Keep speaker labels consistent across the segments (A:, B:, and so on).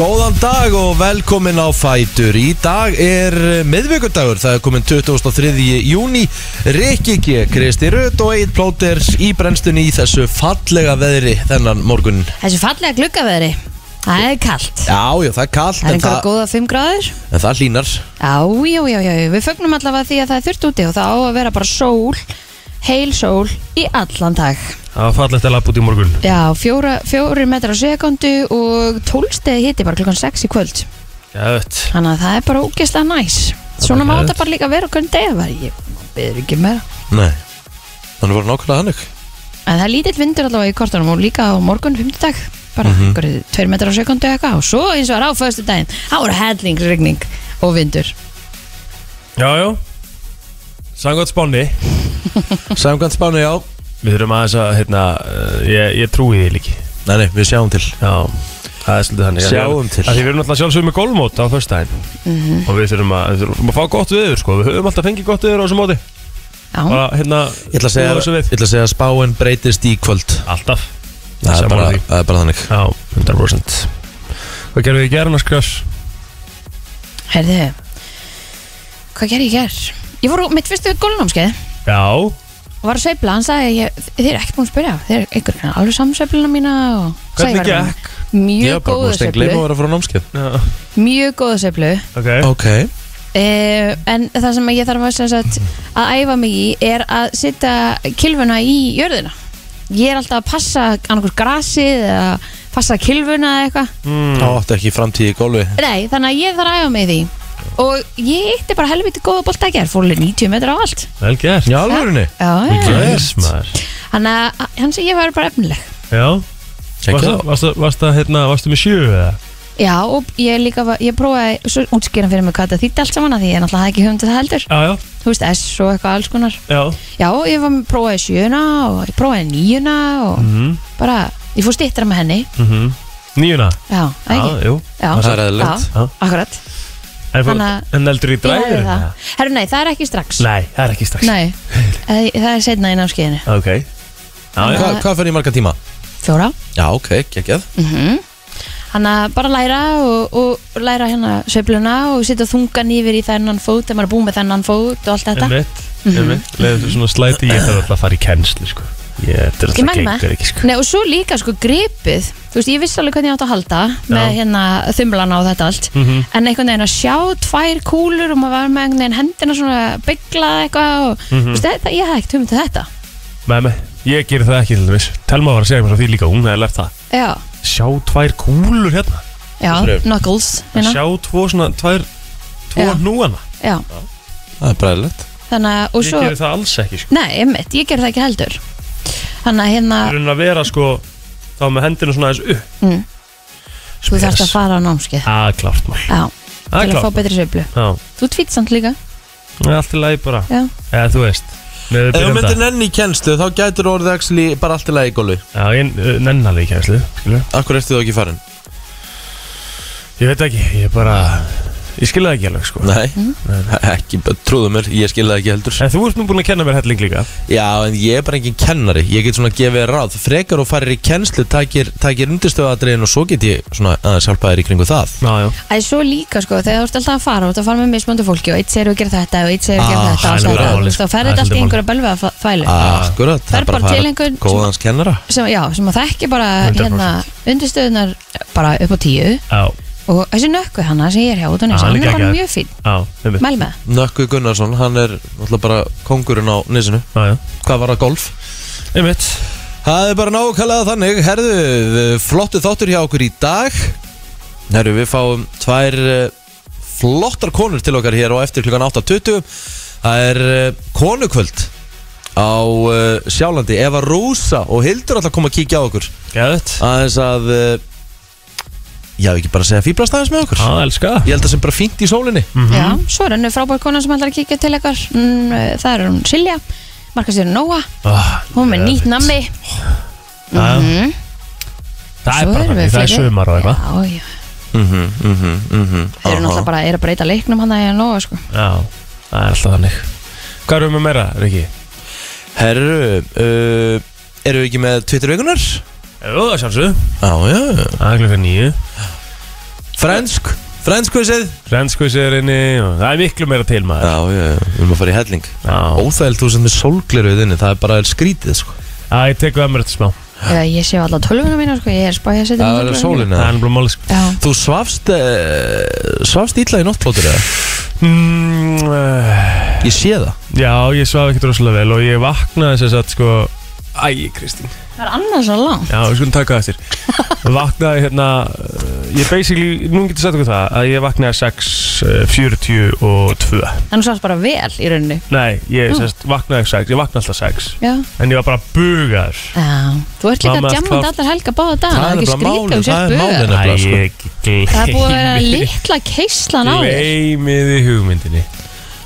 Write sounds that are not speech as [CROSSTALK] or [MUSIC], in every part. A: Góðan dag og velkomin á Fætur Í dag er eh, miðvikudagur Það er komin 23. júni Rikki G, Kristi Rödd og Eid Plóters í brennstunni í þessu fallega veðri þennan morgun
B: Þessu fallega gluggaveðri Það er kalt
A: Já, já, það er kallt
B: Það er
A: en,
B: einhverja
A: það-
B: góða 5 gráður
A: en það hlínar
B: Já, já, já, já, við fögnum allavega því að það er þurft úti og það á að vera bara sól heil sól í allan dag
C: Það var fallegt að lappa út í morgun
B: Já, fjóra, fjóri metrar á sekundu og tólstegi hitti bara klukkan 6 í kvöld
C: Gæðvett
B: Þannig að það er bara ógeðslega næs Svona má þetta bara líka vera okkur en degi var ég beður ekki um meira
A: Nei, þannig voru nákvæmlega hannig
B: En það er lítill vindur allavega í kortunum og líka á morgun, fymtudag bara mm
A: Mhm.
B: -hmm. 2 metrar á sekundu eitthvað og svo eins og er á föstu daginn þá er hellingsregning og vindur
C: Já, já Sangvæmt spánni
A: [LAUGHS] Samkvæmt spánu, já
C: Við þurfum aðeins að, hérna, uh, ég, ég trúi því líki
A: Nei, nei, við sjáum til
C: Já Það er svolítið þannig
A: Sjáum til.
C: Það því við erum alltaf sjálfsögum með golfmót á föstudaginn
B: Mhm.
C: Og við þurfum að, við þurfum að fá gott viður, sko Við höfum alltaf fengið gott viður á þessu móti
B: Já,
C: Bara, hérna,
A: Ég ætla að segja,
C: búa þessu
A: ég
C: við.
A: ætla að segja að spáin breytist í kvöld
C: Alltaf
A: Það er
C: Sammála
A: bara,
C: því.
A: það er bara þannig
C: Já, 100% Hvað gerum við í gerðin að skrjás?
B: heyrðu Hvað gerði ég hér? Ég fór á mitt fyrstu gólnámskeið
C: Já
B: og var að sveifla, hann sagði ég, þið er ekki búin að spyrja þið er einhver grann alveg samsveifluna mína og sagði
C: Hvernig
B: ég var
C: gekk?
B: með
A: Ég
B: mjög
A: var bara búin
B: góða
A: að stein gleyma að
B: sveiflu
A: vera frá námskeið
C: Já,
B: mjög góða sveiflu
C: ok
A: Ok,
B: Uh, en það sem ég þarf að, sem sagt, að æfa mig í er að setja kilvuna í jörðina ég er alltaf að passa annarkur grasið eða passa kilvuna eða eitthvað
C: Hmm.
A: þá áttu ekki framtíð í gólfi
B: nei, þannig að ég þarf að æfa mig í því og ég eitti bara helviti góða bolt að gera fórlega 90 metra á allt
C: Vel gert
A: Já, alvörunni
B: já, já.
C: Yes, maður
B: þannig að hann sem ég var bara efnileg
C: Já
A: Kekja.
C: Varstu- Varstu varstu, hérna, varstu með sjö eða?
B: já, og ég líka var, ég prófaði svo útskýran fyrir mig hvað þetta þýtti allt saman að því ég náttúrulega hafði ekki hugmynd um það heldur
C: Já, já,
B: þú veist, S og eitthvað alls konar
C: já
B: Já, ég var með prófaði sjöuna og ég prófaði nýjuna og
C: Mhm,
B: bara, ég fór stýttra með henni
C: mm Nýjuna
B: Já, það
C: Já,
B: ekki?
C: jú
B: Já,
A: Það er eðlilegt.
B: Já,
C: Já.
B: akkurat
C: En, fór,
B: Þannig að-
C: en eldur í
B: Ég hefði
C: dræður
B: það Herru, nei, það er ekki strax
C: Nei, það er ekki strax
B: Nei, eh, það er setna í námskeiðinu
C: Ok Já, já,
A: Hva, Hvað fyrir marga tíma?
B: Fjóra
A: Já, ok, geggjað
B: Mhm. Þannig að bara læra og, og læra hérna sveifluna og setja þungan yfir í þennan fót þegar maður er búinn með þennan fót og allt þetta
C: einmitt
B: Mhm.
C: Einmitt Leður þú svona slæti Ég þarf alltaf að fara í kennslu, sko Ég þetta er
B: Ég
C: alltaf
B: menn
C: gengur
B: það
C: ekki, sko
B: Nei, og svo líka sko gripið Þú veist, ég vissi alveg hvernig ég átt að halda með hérna þumlana og þetta allt
C: Mhm.
B: en einhvern veginn að sjá tvær kúlur og maður var með einhvern veginn hendina svona bygglað eitthvað og
C: Mhm.
B: þú veist, þetta, ég hafði ekkert hugmynd til þetta
C: Nei, nei Ég gerir það ekki til dæmis Telma var að segja mér frá því líka Hún hefði lert það
B: Já,
C: Sjá tvær kúlur hérna
B: já,
A: Þrjú.
B: knuckles hérna.
C: Sjá tvo svona Tvær Tvo
B: Já.
C: núana
B: Já,
A: Það er bræðilegt
B: þannig að, og
C: Ég
B: svo
C: gerir það alls ekki, sko
B: Nei, einmitt, ég ger það ekki heldur Þannig að hérna,
C: Það er að vera, sko Þá með hendina svona aðeins upp
B: mm, þú
C: Spes.
B: þarfst að fara á námskeið
C: Að klárt mál
B: Já,
C: Að
B: til að fá
C: klárt
B: betri sveiflu
C: Já
B: Þú tvít samt líka,
C: Það er allt í lagi bara
B: já,
C: Eða þú veist Með við
A: Ef þú
C: byrjum
A: myndir
C: þetta
A: nenni í kennslu þá gætur orðið actually bara allt í lagi í gólfi
C: Já, ég uh, nenn alveg í kæmslu Skilju
A: Akkur ertu þú ekki farin?
C: Ég veit ekki Ég bara Ég skilja það ekki alveg sko
A: Nei, [LAUGHS] ekki, bara trúðu mér, ég skil það ekki heldur
C: En þú ert nú búin að kenna mér helling líka
A: Já, en ég er bara engin kennari, ég get svona gefið þér ráð Frekar og farir í kennslu, takir, takir undirstöðatriðin og svo get ég svona aðeins hjálpa þér í kringu það
C: Já, já
B: Æ, svo líka sko, þegar þú ert alltaf að fara þú ert að fara með mismöndu fólki og eitt segir þú að gera þetta og eitt segir þú að
A: Ah,
B: gera þetta
C: það
B: og
C: er
B: segir
C: nefnilega
B: þú veist, þá
C: málið, Ah. sko.
B: ferði
C: Það er
B: þetta allt í einhverja belva fælu Fer bara til einhver- sem,
A: Akkurat, góðans kennara
C: svolítið
B: já, sem að þekki bara
C: 100%.
B: hérna, undirstöðunar bara upp á tíu
C: Já,
B: og þessi nökku hana sem ég er hjá út á
C: Ah,
B: nýsa, hann
C: líka
B: er bara
C: ekki.
B: mjög fín
C: já, einmitt
B: mæl með það.
A: Nökkvi Gunnarsson, hann er náttúrulega bara kongurinn á nýsinu
C: Já, já
A: Hvað var að golf?
C: Einmitt
A: Það er bara nákvæmlega þannig, herðu, eh, flottu þáttur hjá okkur í dag Herðu, við fáum tvær eh, flottar konur til okkar hér og eftir klukkan 8.20 Það er eh, konukvöld á eh, Sjálandi, Eva Rúsa og Hildur ætla að koma að kíkja á okkur
C: Gæðut
A: Aðeins að, eh, já ekki bara að segja fýblast aðeins með okkur
C: Já, elska Mhm.
A: Ég held að sem bara fínt í sólinni
B: já, svo er hennu frábær kona sem ætlar að kíkja til ykkar mm, eh, það er hún Silja markastjóri Nóa,
C: Ah,
B: hún
A: eh,
B: er með nýtt
C: geðveikt.
B: nammi
C: Já, já.
B: Mhm. Svo
C: Það er bara
B: erum
C: þannig
B: við
C: Það er
B: fleiri.
C: sumar og eitthvað
B: já, já,
A: Mhm, mhm, mhm
B: þeir eru náttúrulega bara er að breyta leiknum hann að ég Nóa sko
C: Já, það er alltaf þannig Hvað erum við með meira, Riki?
A: Herru, uh, eru við ekki með Twitter vikunar?
C: Jú, það sjálfsög
A: Já, já
C: Það er klukka nýju
A: Fransk, franskvissið
C: Frendskvissið er inni og það er miklu meira til maður
A: Já, já, já, við erum að fara í helling
C: Já,
A: Óþægild þú sem er sólgleruð inni, það er bara skrítið sko.
C: Æ, ég tek það mér þetta smá
B: Eða ég sé alla tölvuna mína, sko, ég er spáði að setja
A: Það
B: mig
A: er
B: í tölvuna mína.
A: sólina
C: Ah. Það er bara máli sko
B: Já,
A: Þú svafst, uh, svafst illa í nóttplótur eða?
C: mm, eh,
A: Ég sé það
C: Já, ég svaf ekkert rosalega vel og ég vaknaði sem sagt sko Æ, Kristín
B: það er annars svo langt
C: Já, við skulum taka
A: [LAUGHS]
C: það eftir Vaknaði hérna eh, Ég basically, nú getur sagt okkur það að ég vaknaði eh, 6.42
B: En þú sátt bara vel í rauninni
C: Nei,
B: Mm.
C: ég sérst, vaknaði 6, ég vaknaði alltaf 6
B: Já,
C: En ég var bara bugaður
B: já Þú ert líka
C: Mamma,
B: djammand
C: hvað-
B: allar helga báða dag
A: Það er
B: Ah, ekki
A: nefnilega
B: skrítið um
A: málið,
B: þú sért
A: það er
B: bugað.
A: málið.
C: Æ,
A: Nefnilega, sko.
C: ég gleymi
B: Það er búið að
A: [LAUGHS]
B: vera litla keislan á þér
C: Gleymið í hugmyndinni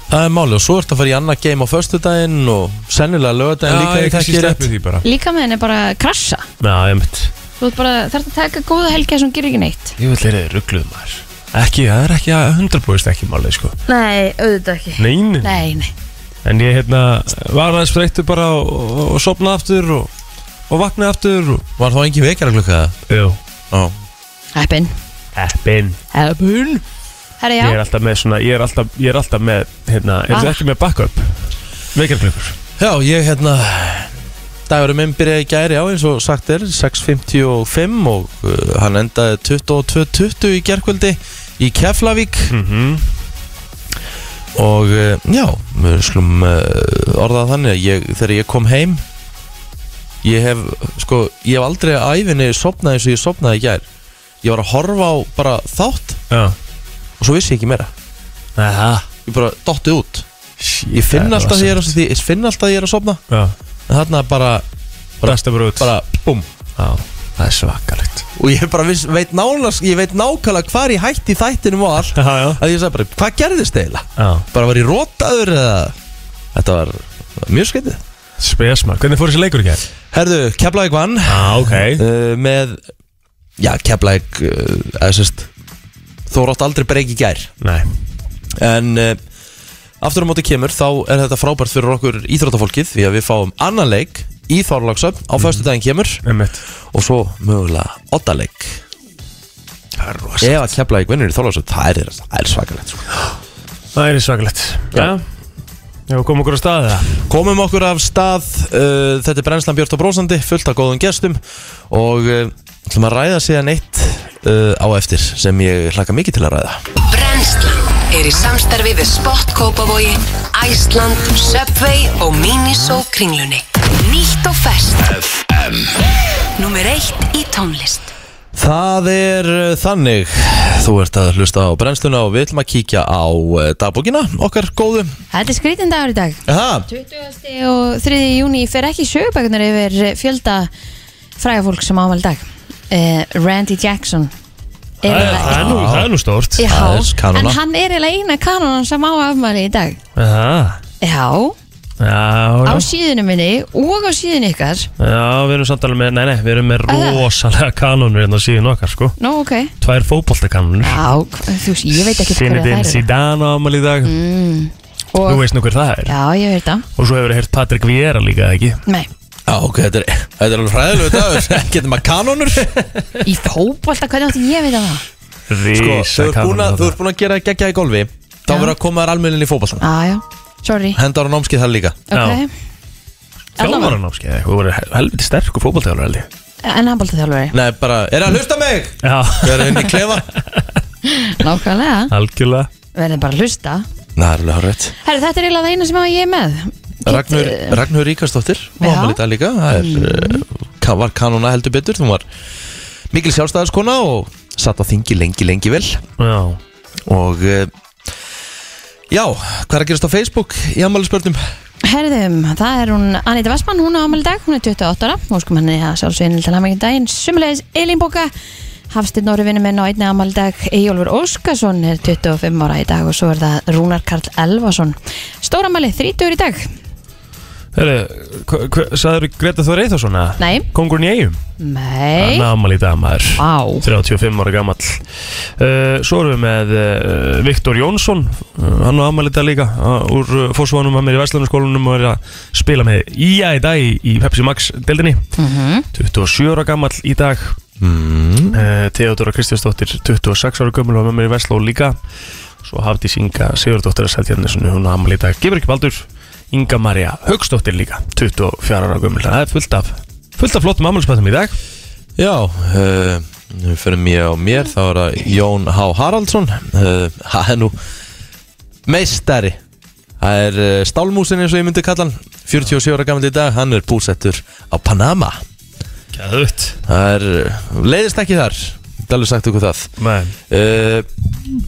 A: Það er máli og svo ertu að fara í annað game á föstudaginn og sennilega lögadaginn líka
C: Já,
A: ef ég
C: ég
A: þekki
C: kannski
A: rétt.
C: stefni því bara
B: Líka með henni bara að krassa
C: Já, ég mynd
B: Þú ert bara, þarf að taka góða helga sem gerir ekki neitt
C: Ég vil leira þið ruggluð maður Ekki, það er ekki að 100% ekki málið sko
B: Nei, auðvitað ekki
C: Nein
B: Nei, nei
C: En ég hérna var aðeins breyttu bara og, og, og sopnaði aftur og, og vaknaði aftur og
A: Var þá engin vekjara klukka það?
C: Jú
A: Já
B: Heppin
C: Heppin
B: Heppin Herra
C: Ég er
B: já,
C: alltaf með svona, ég er alltaf, ég er alltaf með, hérna, er
B: Ah.
C: þið ekki með backup? Vekjarklökkur
A: Já, ég hérna Dagurum minn byrjaði í gæri á eins og sagt er 6.55 og uh, hann endaði 22.20 í gerkvöldi í Keflavík
C: mm -hmm.
A: og uh, já, við slum uh, orðað þannig að ég, þegar ég kom heim ég hef sko, ég hef aldrei að æfinni sopnaði eins og ég sopnaði í gær ég var að horfa á bara þátt
C: Já
A: og svo vissi ég ekki meira
C: Aha.
A: ég bara dotti út ég finn alltaf því ég er að, því- ég finn alltaf því ég er að sopna
C: Já,
A: en þarna bara,
C: dasta bara út
A: bara búm
C: Já, það er svakalegt
A: og ég bara viss, veit, nánast, ég veit nákvæmlega hvar ég hætti í þættinum og allt
C: Já, já
A: að ég sagði bara, hvað gerðist eiginlega?
C: Já,
A: bara var ég rótaður eða þetta var var mjög skeitið
C: spesma, hvernig fór þessi leikur í gær?
A: Herðu, Keflæk vann uh,
C: Já, ok
A: með já, Keflæk uh, eða sérst þó rátt aldrei breyki í gær
C: Nei,
A: en uh, aftur á móti kemur þá er þetta frábært fyrir okkur íþróttafólkið því að við fáum annan leik í Þorlagsöfn á mm kemur
C: emmitt
A: og svo mögulega oddaleik
C: Það er rosa
A: ef að Keflæk vinnur í Þorlagsöfn það er, það er svakalegt sko.
C: Það er svakalegt Já Já, komum okkur á staðið það
A: Komum okkur af stað, uh, þetta er Brennslan Björn og Brósandi, fullt af góðum gestum og uh, ætlum að ræða síðan eitt uh, á eftir sem ég hlaka mikið til að ræða.
D: Brennslan er í samstarfi við Spott Kópavogi, Æsland, Subway og Miniso kringlunni. Nýtt og fest. FM. Númer eitt í tónlist.
A: Það er uh, þannig, þú ert að hlusta á brennsluna og við ætlum að kíkja á uh, dagbókina okkar góðu.
B: þetta er skrítin dagur í dag
A: Aha,
B: 20. og 3. júni fer ekki sjöbækunar yfir eh, fjölda frægafólk sem ámæli dag uh, Randy Jackson er
C: Það er-
B: eiginlega-
C: það er nú- það er nú stórt
B: Já,
A: það er kanóna.
B: en hann er eiginlega eina kanonan sem á afmæli í dag
C: Aha.
B: Já,
C: Já,
B: á
C: já
B: síðunum minni og á síðun ykkar
C: Já, við erum samt alveg með, nei, nei, við erum með
B: Ah.
C: rosalega kanonur hérna á síðan okkar, sko
B: Nú, ok
C: Tvær fótboltakanonur
B: Já, hva- þú veist, ég veit ekki hverja það
C: Sinidin
B: eru
C: Zidane á amal í dag
B: mm,
C: Þú
B: og,
C: veist nú hver það er
B: Já, ég veit það
C: Og svo hefur heyrt Patrik Viera líka, ekki?
B: Nei,
A: Já, ok, þetta er, þetta er alveg fræðilegu
C: [LAUGHS]
A: dagur, getum að kanonur.
B: í fótbolta, hvernig átti ég að vita það?
A: Sko, þú
C: Rísa
A: ert búin að- þú ert búin að gera geggja í golfi, þá
B: Já.
A: verður að koma þær almennin í fótballstana.
B: Já, já, sorry
A: Hendar á námskið það líka.
B: Ok,
C: Þjálfara námskeið, þú verður hel- helviti sterk og fótboltjálfur held ég
B: en handbólta þjálfari
A: Nei, bara, er að hlusta mig?
C: Já,
A: Þegar henni klefa?
B: [LAUGHS] Nákvæmlega,
C: [LAUGHS] algjörlega
B: verðum bara að hlusta
A: Næ, það er alveg horrið.
B: Herri, þetta er eiginlega það eina sem að ég er með Get-
A: Ragnur, Ragnur Ríkastóttir
B: Já.
A: var ámæli í dag líka það er, eh, mm. uh, var kanona heldur betur hún var mikil sjálfstæðarskona og satt á þingi lengi lengi vel
C: Já,
A: og uh, já, hvað er að gerast á Facebook í ammæli spörnum
B: Herðum, það er hún Anita Vestmann, hún á ámæli dag, hún er 28 ára og skum henni að sjálfsveginni til hamingin daginn sumulegis Elín Boka Hafstinn Nóri vinnu minn á einni ámæli dag Eyjólfur Óskarsson er 25 ára í dag og svo er það Rúnar Karl Elvason Stóramæli 30 í dag
C: herru, sagður Greta Þór Eitharsson að?
B: Nei,
C: Kongurinn í eigum?
B: nei
C: Hann amal í dag maður
B: Vá,
C: 35 ára gamall uh, Svo erum við með uh, Viktor Jónsson uh, Hann á amal í dag líka uh, Úr uh, fórsvánum, hann er í Vestlunarskólanum Og er að E spila með IA í dag Í, í Pepsi Max deildinni
B: mhm,
C: 27 ára gamall í dag Eh, Theodóra Kristjánsdóttir 26 ára gömul var með mér í Vestló líka svo hafði Inga Sigurdóttir að sætja henni svona hún amal í dag, gefur ekki baldur Inga Maria Haugsdóttir líka 24 ára gömul, það er fullt af fullt af flottum amalspættum í dag
A: Já, uh, við fyrir mér og mér þá er það Jón H. Haraldsson uh, Það er nú meistari Það er uh, stálmúsin eins og ég myndi kalla hann 47 ára gammal í dag, hann er búsettur á Panama
C: Gæðut
A: Það er, uh, leiðist ekki þar Það er alveg sagt ykkur það uh,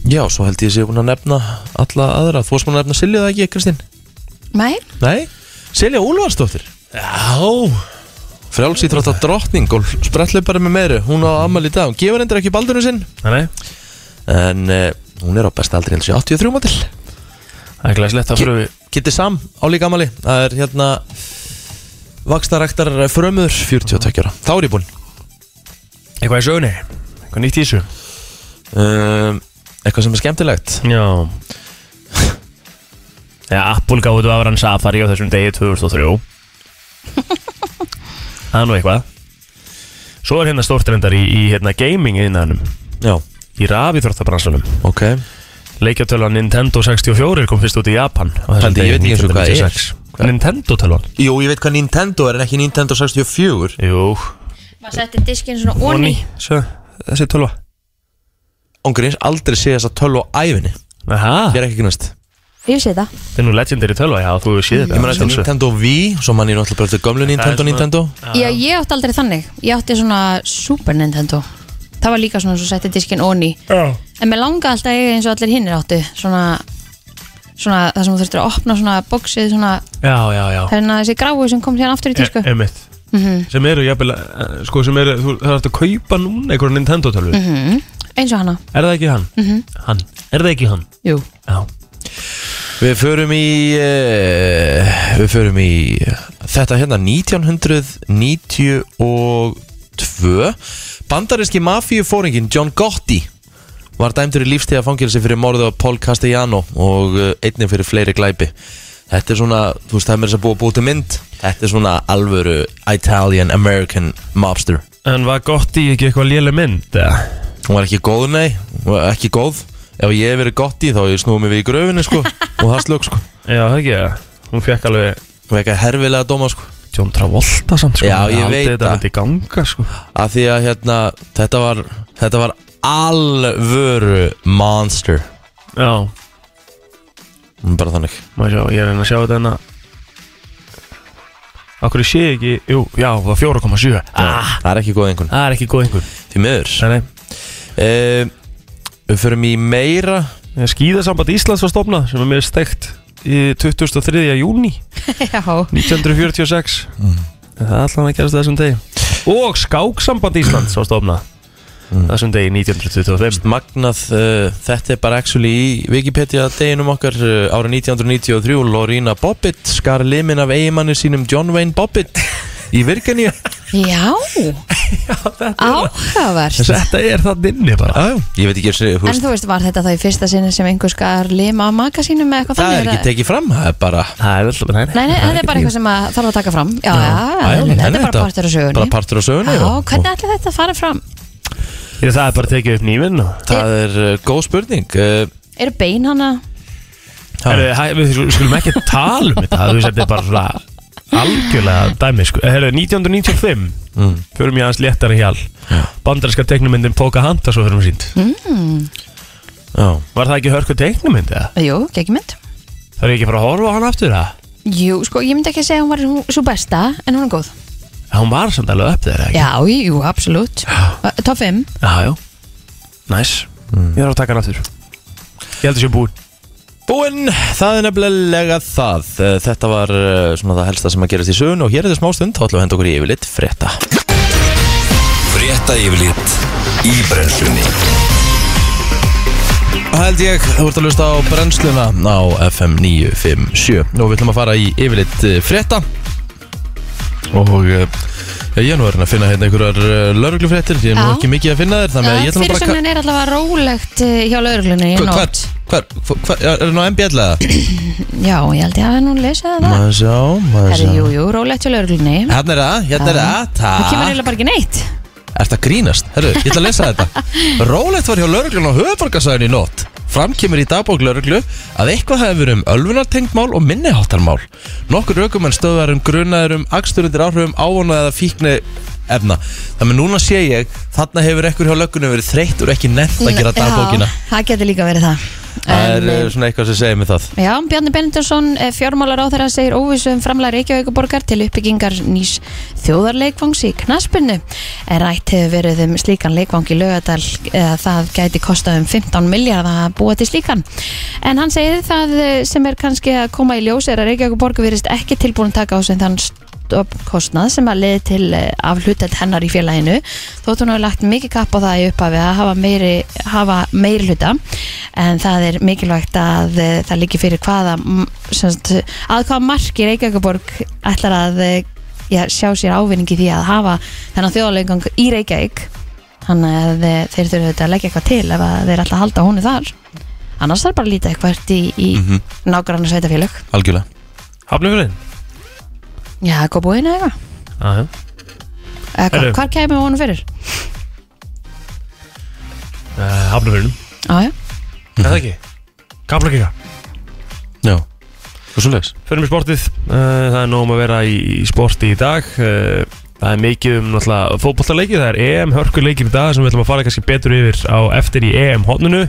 A: Já, svo held ég sé búin að nefna alla aðra, þú varst búin að nefna Silja það ekki, Kristín?
B: Nei,
A: Nei, Silja Úlfarsdóttir
C: Já
A: Frjálsýþrótta drottning og sprettleipari með meiru Hún á ammali í dag, hún gefur endur ekki baldurinn sinn
C: Nei,
A: En uh, hún er á besta aldri eins og 83 mótil
C: það er glæslegt að fyrir við
A: Kitty Sam á líka amali Það er hérna eh, Vakstaræktar frömuður 42 ára Þá er ég búinn
C: eitthvað í sögunni, eitthvað nýtt í þessu
A: um, Eitthvað sem er skemmtilegt
C: Já Já, Apple gáðu af hann Safari á þessum degi
A: [LAUGHS]
C: 2003 Það er nú eitthvað Svo er hérna stórt reyndar í, í hérna gaming innanum
A: Já,
C: Í rafíþróttabransunum
A: ok
C: Leikjartölan Nintendo 64 kom fyrst út í Japan á þessum
A: Paldi, ég
C: degi
A: veit ekki eins og hvað
C: 1996.
A: er. Hvað?
C: Nintendo tölvan
A: Jú, ég veit hvað Nintendo er en ekki Nintendo 64
C: Jú
B: maður setti diskinn svona onni
C: Svo, þessi tölva
A: Ongurins aldrei sé þess að tölva á æfinni Ég
C: Aha,
A: er ekki knast
B: Ég sé það
C: þetta er nú legendary tölva Já, þú hefur séð þetta
A: Ég meina þetta er
C: sjálfsögðu.
A: Nintendo Wii Svo mann ég náttúrulega bara eftir gömlu Nintendo
C: svona-
A: Nintendo
B: Já, ég átti aldrei þannig Ég átti svona Super Nintendo Það var líka svona svo setti diskinn onni
C: Já.
B: En mér langa alltaf að eiga eins og allir hinnir áttu Svona Svona það sem þú þurftir að opna svona boxið Svona
C: Já, já, já
B: hérna þessi gráu sem kom hérna aftur í tísku Mhm.
C: E- einmitt sem eru jafnvel eh, sko sem eru þú þarf að kaupa núna einhverja Nintendo tölvu
B: Mhm. Eins og hana
C: er það ekki hann?
B: Mhm.
C: hann er það ekki hann?
B: Jú
C: já
A: Við förum í uh, Við förum í Þetta hérna 1992 Bandarinski mafíufóringin John Gotti Var dæmdur í lífstíða fangilsi fyrir morðu á Paul Castellano Og eh, einnig fyrir fleiri glæpi Þetta er svona, þú veist það er mér þess að búa búið til mynd Þetta er svona alvöru Italian American mobster
C: en var gott í ekki eitthvað léle mynd eða?
A: Hún var ekki góð, nei, hún var ekki góð Ef ég hef verið Gotti þá hef ég snúið mig við í gröfinni sko Og það slög sko
C: já það ekki það hún fekk alveg
A: Hún var ekki að herfilega dóma sko
C: John Travolta samt sko
A: Já, ég
C: Haldið
A: veit
C: þetta
A: það.
C: myndi ganga sko
A: að því að hérna þetta var, þetta var alvöru monster
C: já
A: bara þannig
C: maður sjá ég er að reyna að sjá þetta en að okkur sé ég ekki jú já það var 4,7 ah
A: það er ekki góð einhvern
C: það er ekki góð einhver
A: því miður
C: nei nei
A: uh, við förum í meira
C: Eh, skíðasamband Íslands var stofnað sem er mér steikt í 2003. júni
B: [LAUGHS] Já
C: 1946
A: Mm.
C: Það er allan að gerast þessum degi Og skáksamband Íslands var stofna Þessum degi 1925
A: Mm. magnað uh, þetta er bara actually í Wikipedia deginum okkar uh, ára 1993 Lorena Bobbitt skar limin af eigimanni sínum John Wayne Bobbitt í Virginia
B: Já Áhugavert
C: [LAUGHS] Þetta er það inni bara
A: ah, ég veit ekki hversu- þú
B: En
A: veist,
B: þú veist, var þetta þá í fyrsta sinni sem einhver skar lima á maka sínum eða eitthvað
A: það
B: þannig?
A: er ekki
B: eða?
A: tekið fram það er bara
C: Það er alltaf
B: Nei, nei, þetta er bara eitthvað sem að þarf að taka fram Já, já,
A: Æ,
B: þetta
A: en
B: er bara partur á sögunni
A: bara partur á sögunni
B: Já,
A: og-
B: hvernig ætli þetta að fara fram?
C: Ég, Það er bara tekið upp nývinn og
A: það er uh, góð spurning uh,
B: Eru bein hana?
C: Herru, hæ, Við skulum ekki tala um þetta Þú veist, þetta er bara svona algjörlega dæmi sko. Herru, 1995 Förum ég aðeins léttara hjal Bandarska teknumyndin Pocahontas svo fyrir um sínt
A: já
C: Var það ekki hörku teknumynd eða?
B: Hmm, Jú, ekki mynd
C: Það er ekki að fara að horfa á hann aftur eða?
B: Jú, sko, ég myndi ekki að segja að hún var hún- sú besta En hún er góð
C: Hún var samt alveg upp þeirra
B: Já, jú, absolutt Top 5
C: Já, já Næs Ég þarf að taka hann aftur Ég held að sé búinn
A: Búinn, það er nefnilega það. Eh, Þetta var eh, svona það helsta sem að gerast í sögun og hér er þetta smá stund, þá ætlum við að henda okkur í yfirlit frétta.
E: Frétta yfirlit í brennslunni
A: Það held ég, þú ert að lusta á brennsluna á FM 957 og við ætlum að fara í yfirlit eh, frétta og eh, ég er nú verið að finna hérna einhverjar lauruglufréttir, ég er nú
B: Já.
A: ekki mikið að finna þér þannig að ég ætlum bara að...
B: Fyrirsögnin er allavega rólegt eh, hjá lauruglunni í
A: Hver, hver,
B: nótt
A: hver, hver, hver, er það nú MBL eða?
B: Já, ég held ég að nú lesa það
A: Maður sjá, maður
B: Herri, jú,
A: sjá.
B: jú, rólegt hjá lauruglunni
A: Hérna er það, hérna er það,
B: Það kemur
A: takk.
B: eiginlega bara ekki neitt
A: Ert að grínast? Herru, ég ætla að lesa
B: [LAUGHS]
A: þetta Rólegt var hjá lauruglun á höfuborgarsæðinu í nótt Fram kemur í dagbók lauruglu að eitthvað hafi verið um ölvunartengmál og minniháttarmál Nokkur aukumenn stöðar um grunaður um akstur undir áhrifum ávonað eða fíkni efna Þannig núna sé ég, þarna hefur ekkur hjá löggunum verið þreytt og ekki nefnt að gera dagbókina
B: Mm, Já, það getur líka verið það
A: Það er
B: En,
A: eh, svona eitthvað sem segir mig það
B: Já, Bjarni Benedinsson, fjármálar á þeirra segir óvissu um framlega Reykjavíkuborgar til uppbyggingar nýs þjóðarleikvangs í knaspinu. En rætt hefur verið um slíkan leikvang í lögadal eða það gæti kostað um 15 miljard að búa til slíkan. En hann segir það eh, sem er kannski að koma í ljós er að Reykjavíkuborgar virðist ekki tilbúin að taka á sem þann stofnkostnað sem að leiði til eh, afhlutelt hennar í félaginu þótt hún hafi lagt mikið kapp á það í upphafi að hafa meiri, hafa meiri hluta en það er mikilvægt að eh, það líki fyrir hvaða mm, sem sagt, að hvaða marki Reykjavíkaborg ætlar að eh, já, sjá sér ávinningi því að hafa þennan þjóðalegang í Reykjavík þannig að eh, þeir þurfa auðvitað að leggja eitthvað til ef að þeir ætla að halda húnu þar annars þarf bara að líta eitthvað í, í mm
A: Mhm.
B: -hmm. nágrann sveitafélög
A: Algjörlega
C: Hafnafjörðin?
B: Já, góð búin eða eitthvað
C: Aha.
B: Eða hvað-
C: Herru.
B: Hvar kemur honum fyrir?
C: Uh, Hafnafjörðin
B: Já, já
C: Er það ekki? Kaplakika
A: Já, og svo leiðis
C: Förum í sportið uh, Það er nóg um að vera í, í sporti í dag uh, Það er mikið um náttúrulega fótballtaleikið Það er EM hörkuleikir í dag sem við ætlum að fara kannski betur yfir á eftir í EM hodnunu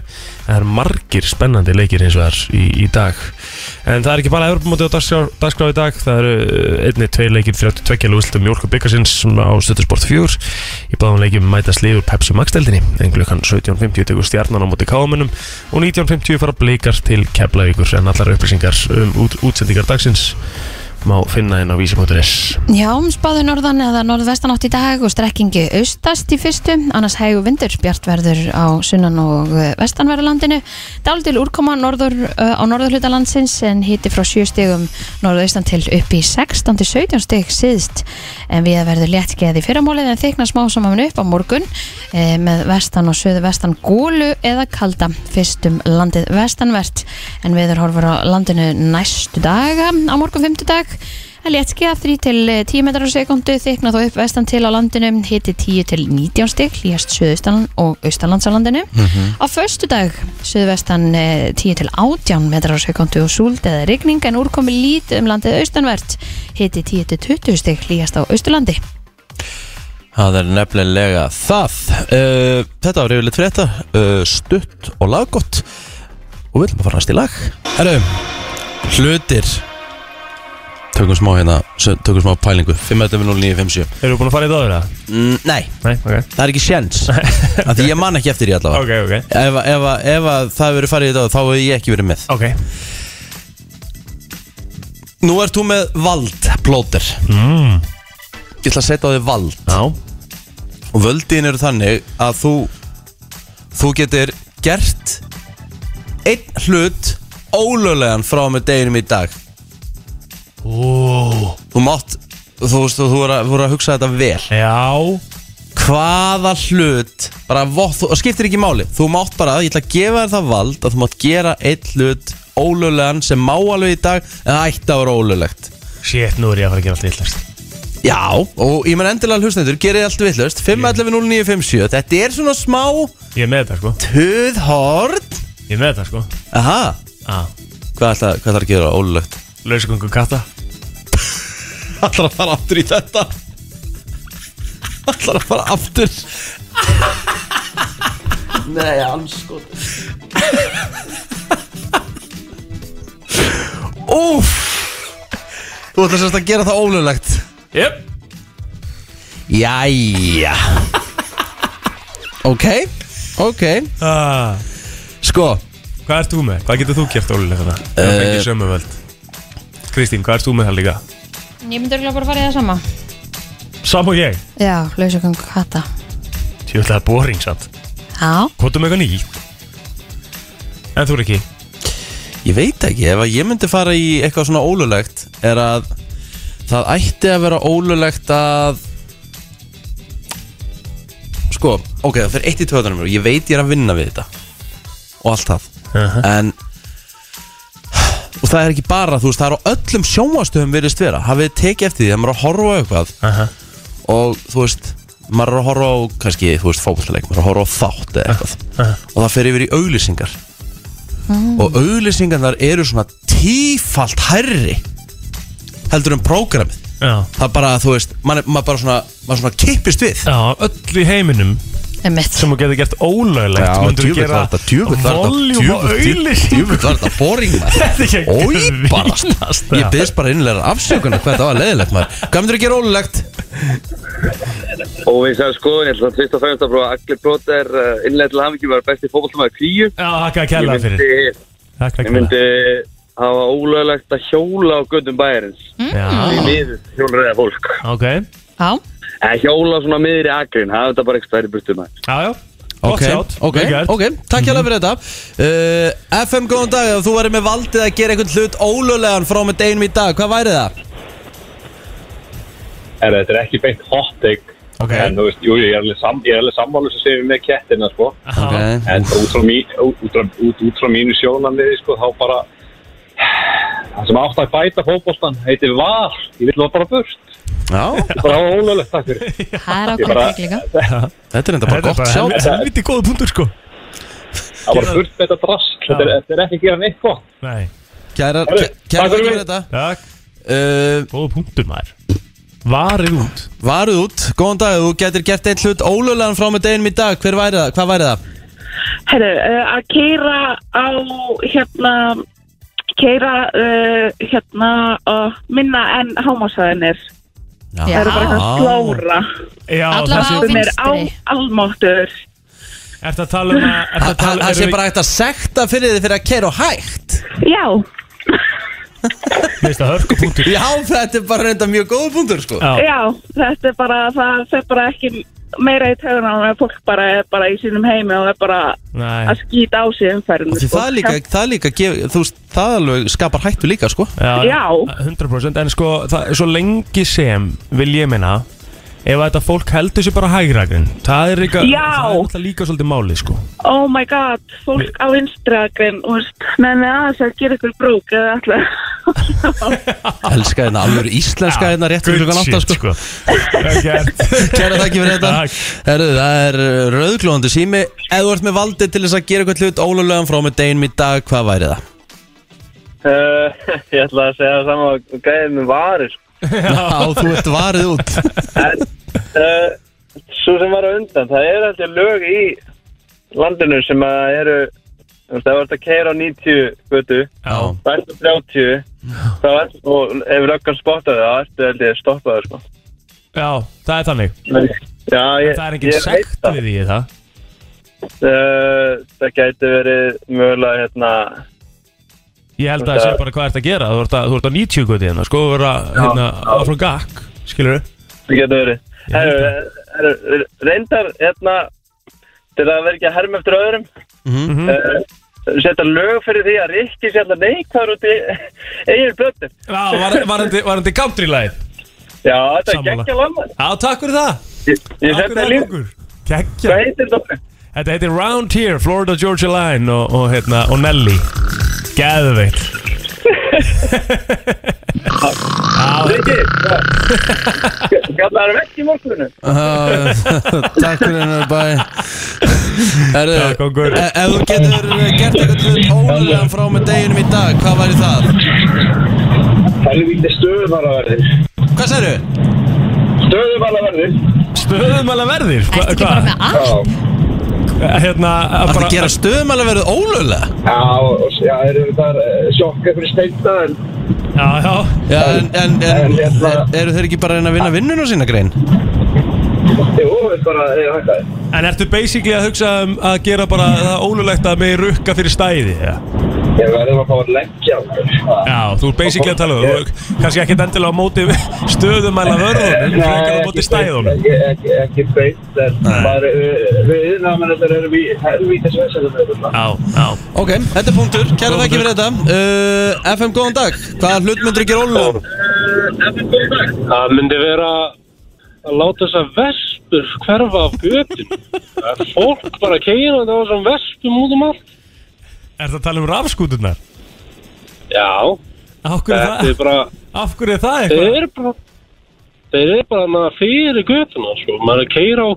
C: Það er margir spennandi leikir eins og það er í, í dag En það er ekki bara Evropamóti á dagskrá, dagskrá í dag Það eru uh, einni, tveir leikir 32 lúsildum Jórka Byggarsins mm, á Stöttusport 4 Í báðum leikjum mætast liður Pepsi Max-deldinni en klukkan 17.50 tekur stjarnan á móti káumunum og 19.50 fara bleikar til Keflavíkur en allar upplýsingar um út, útsendingar dagsins má finna inn á vísi.is
B: Já, um spáðu norðan eða norðvestan átt í dag og strekkingi austast í fyrstu, annars hægur vindur, bjart verður á sunnan og eh, vestanverðurlandinu. Daldil úrkoma norður, eh, á norðurhluta landsins en hiti frá 7 stigum norðaustan til upp í 16 til 17 stig síðst en við verður létt geði fyrramólið en þykna smá saman upp á morgun eh, með vestan og söðu vestan gólu eða kalda fyrstum landið vestanvert en viður horfur á landinu næstu daga á morgun 5. dag Það létt skið að 3 til eh, 10 metrar á sekundu, þykna þó upp vestan til á landinu, hiti 10 til 19 stík, líðast söðustan og austanlands á landinu. Á föstu dag, söðvestan 10 til 18 metrar á sekundu og súld eða rigning, en úrkomi lítið um landið austanvert, hiti 10 til 20 stík, líðast á austurlandi.
A: Það er nefnilega það uh, Þetta var yfirleitt fyrir þetta uh, Stutt og laggott Og við ætlum að fara næst í lag Herru, hlutir Tökum smá hérna s- Tökum smá pælingu 5.09.57
C: Erum við búin að fara í það aðra?
A: mm, Nei,
C: Nei, ok
A: það er ekki sjens Af Því ég man ekki eftir í allavega
C: Ok, ok
A: Ef, að- ef, að- ef að það hefur verið farið í þetta Þá hefur ég ekki verið með
C: Ok
A: Nú ert þú með vald, plóter
C: mm.
A: Ég ætla að setja á þig vald
C: Já
A: og völdin eru þannig að þú þú getur gert einn hlut ólöglegan frá og með deginum í dag
C: Ó,
A: þú mátt, þú veist, þú voru að, voru að hugsa þetta vel
C: Já
A: hvaða hlut bara, vo- þú, það skiptir ekki máli, þú mátt bara ég ætla að gefa þér það vald að þú mátt gera einn hlut ólöglegan sem má alveg í dag en það ætti að vera ólöglegt
C: Shit, nú er ég að fara að gera allt illast
A: Já, og ég menn endilega hlustendur, gerið allt vitlaust 5.11.09.57, þetta er svona smá
C: Ég er með þetta sko
A: töðhort
C: Ég er með þetta sko
A: Aha,
C: ah.
A: Hvað ætlar hvað ætlar að gera ólulegt?
C: Lausgöngu katta
A: Ætlar að fara aftur í þetta Ætlar að fara aftur Nei, anskot Úf Þú ætlar sérst að gera það ólulegt
C: Jep
A: Jæja Ok, ok
C: ah.
A: Sko, Eh,
C: Hvað ert þú með? Hvað getur þú hérna? gert ólega þarna? Það er ekki sömu völd Kristín, hvað ert þú með það líka?
B: Ég myndi örgulega bara að fara í það sama.
C: Sam og ég
B: Já, lausagang hata.
C: Tjóðlega boring samt
B: Já,
C: Kvotum eitthvað nýtt En þú er ekki
A: ég veit ekki Ef að ég myndi fara í eitthvað svona ólulegt Er að það ætti að vera ólulegt að Sko, ok, það fyrir eitt í tvöðunum Ég veit ég er að vinna við þetta Og allt það
C: Aha.
A: En Og það er ekki bara, þú veist, það er á öllum
C: Uh-huh.
A: sjónvastöfum virðist vera Hafið þið tekið eftir því að maður er að horfa á eitthvað
C: Aha.
A: Og þú veist, maður er að horfa á kannski, þú veist, fókbaltaleik maður er að horfa á þátt eða eitthvað
C: Uh-huh.
A: og það fer yfir í auglýsingar og auglýsingarnar eru svona tífalt hærri heldur en prógramið
C: Já.
A: það er bara, þú veist, maður, er- maður bara svona maður svona kippist við
C: Já, öll í heiminum
B: Emmett
C: sem þú getur gert ólöglegt myndur
A: djúvill var þetta, djúvill var þetta,
C: voljum og
A: djúvill-
C: auðlýsing
A: djúvill var þetta boring
C: [LAUGHS] [LAUGHS] Þetta er ekki
A: maður
C: að
A: Ói
C: grínast,
A: bara, ég
C: það.
A: byrst bara innlega afsökunar hvað þetta var leðilegt maður Hvað myndir þú gera ólulegt?
F: Og við sagðum sko, ég ætla að fyrst og fremst að prófa Agli Brot er uh, innlega til hafingjum var besti fótbollstamæður kríu.
C: Já, þakka að
F: Ég
C: kella fyrir
F: myndi, ég
C: Þakka að kella
F: myndi hafa ólöglegt að hjóla á göndum bæjarins.
C: Já,
F: Við hjólræða fólk.
C: ok
B: Já,
F: En hjóla svona miður í agrin, hafa þetta bara eitthvað í burtu maður.
C: Já, já
A: Ok, ok, ok, takk
C: Mhm.
A: hjá fyrir þetta uh, FM, góðan dag, ef þú væri með valdið að gera einhvern hlut ólulegan frá með deginum í dag, hvað væri það?
G: Er, þetta er ekki beint hot take
C: Ok.
G: En þú veist, jú, ég er alveg, sam, ég er alveg sammálu sem segir með kettina, sko
A: Ah. Ok.
G: En út frá, mín, út, út, frá- út, út frá mínu sjónanmiði, sko, þá bara Það sem átt að bæta fótboltan heitir var Ég vil það bara burt
A: Já,
G: Ég bara hafa ólöglegt, takk fyrir Ég
B: það er
A: [LAUGHS]
B: ákveðin
G: bara-
B: tekk líka
A: þetta er enda bara
C: Þetta er
A: gott
C: bara
A: sjátt
C: hel- helviti góða punktur sko
G: Það var burt með þetta drast þetta, er- þetta er ekki að gera neitt gott
C: Nei,
A: Kæra,
G: Herru,
A: kæra, kæra
G: takk fyrir
A: fyrir
G: mig.
A: þetta
C: takk,
A: uh,
C: góða punktur maður Varið út
A: Varuð út, góðan dag, ef þú getur gert einn hlut ólulegan frá með deginum í dag, hver væri það? Hvað væri það?
H: Herru, uh, að keira á hérna keira uh, hérna uh, minna en hámásæðin er
B: Já.
H: það eru bara eitthvað slóra
C: Já,
B: Allavega á
C: þessi-
H: sem er á
B: vinstri.
H: almáttur
C: Ertu að tala um að ertu
A: Það
C: að tala-
A: það
C: erum
A: sé
C: við-
A: bara hægt að sekta fyrir þið fyrir að kæra og hægt
H: já,
C: Mér finnst það hörkupunktur
A: Já, þetta er bara reynda mjög góða punktur sko
C: Já.
H: já, þetta er bara það fer bara ekki meira í töguna og fólk bara er bara í sínum heimi og er bara
C: Nei,
H: að skýta á sig sko. umferðinu
A: Því það er líka, það er líka, gef, þú veist, það alveg skapar hættu líka sko
H: Já.
C: 100% En sko, það, svo lengi sem vil ég minna Ef þetta fólk heldur sér bara hægragrin Það er líka,
H: Já.
C: það er alltaf líka svolítið máli sko
H: oh my god, fólk á vinstragrin menn með aðeins að gera ykkur brók eða alltaf
A: Elska hérna, alveg íslenska hérna rétt fyrir klukkan 8 sko
C: Vel gert.
A: Kæra þakki fyrir þetta
C: Takk.
A: Herru, það er uh, rauðglóðandi sími Ef þú ert með valdi til þess að gera eitthvað hlut ólulegan frá með deginum í dag, hvað væri það?
F: Uh, [LAUGHS] ég ætla að segja það saman að gæðið með sko. varir.
A: [LAUGHS] Já, þú ert varið út
F: Uh, svo sem var á undan, það eru alltaf lög í landinu sem að eru þú veist, það var að keira á 90 götu,
C: Já.
F: það ertu 30 þá ertu, og ef löggan spottaði það ertu held ég stoppaði sko.
C: Já, það er þannig
F: Já, ég,
C: Það er engin
F: ég veit
C: sekt við því í það
F: uh, það gæti verið mögulega hérna
C: Ég held að það sé bara hvað ert að gera Þú ert, að, þú ert á 90 guti hérna Sko, þú ert að hérna, áfram gakk Skilur
F: það gæti verið eh,
C: Ég held
F: Heru, heru, reyndar hérna til að vera ekki að herma eftir öðrum
C: Mhm.
F: uh, setja lög fyrir því að Rikki sé alltaf neikvar út í [LAUGHS] eigin blöttu
C: Já, var, varandi, varandi country-læð
F: Já, þetta er
C: Sammála.
F: geggja landar
C: Já, takk fyrir það
F: Ég, ég
C: Takk
F: seti
C: fyrir
F: það
C: það,
F: líf
C: kongur. Kekkja
F: Hvað heitir þetta?
C: Þetta heitir Round Here, Florida Georgia Line og, og, hérna, og Nelly Gæðveitt
F: Rikki Gjallar vekk í morgunum
A: Já, [LAUGHS] Takk fyrir hennar bæ Herru,
C: Takk, kongur.
A: e- Ef þú getur gert eitthvað hlut ólulegan frá með deginum í dag, hvað væri það?
G: Helvíti stöðumalaverðir
A: Hvað sérðu?
G: Stöðumalaverðir
C: Stöðum alveg verðir Hva-
B: Ertu ekki bara með allt?
C: Hérna
A: Það er
C: bara,
A: að gera stöðum alveg verið ólulega
G: Já, já, erum við þar sjokka fyrir steinda en
C: Já, já
A: Já, en, en, en
G: En hérna-
A: er, eru þeir ekki bara að reyna að vinna vinnuna sína grein?
G: Jú, við bara, eh, ég hægt að
C: En ertu basically að hugsa um að gera bara það ólulegt að mig rukka fyrir stæði ja?
G: Ég verðum að fá að leggja á þetta.
C: Já, þú er basically að tala um það. Þú er kannski ekkert endilega á móti stöðum alveg
G: [LAUGHS]
C: verðunum Þú er ekkert á móti stæðunum
G: Ekki, ekki, ekki beint en bara, við, við yðnamennir erum í helvítis vesenum
C: Já, já
A: Ok, þetta er punktur, kæra þekki fyrir þetta uh, FM, góðan dag, hvaða hlut myndir ekki rólulega?
G: Það myndi vera að láta þess að vespur hverfa af götin Það er fólk bara að keira það var svona vespum út um allt
C: Ertu að tala um rafskúturnar?
G: Já,
C: Af hverju
G: þetta
C: er
G: er
C: það?
G: bara
C: Af hverju er það eitthvað?
G: þeir eru bara þeir eru bara hana, fyrir götuna sko. maður er að keira á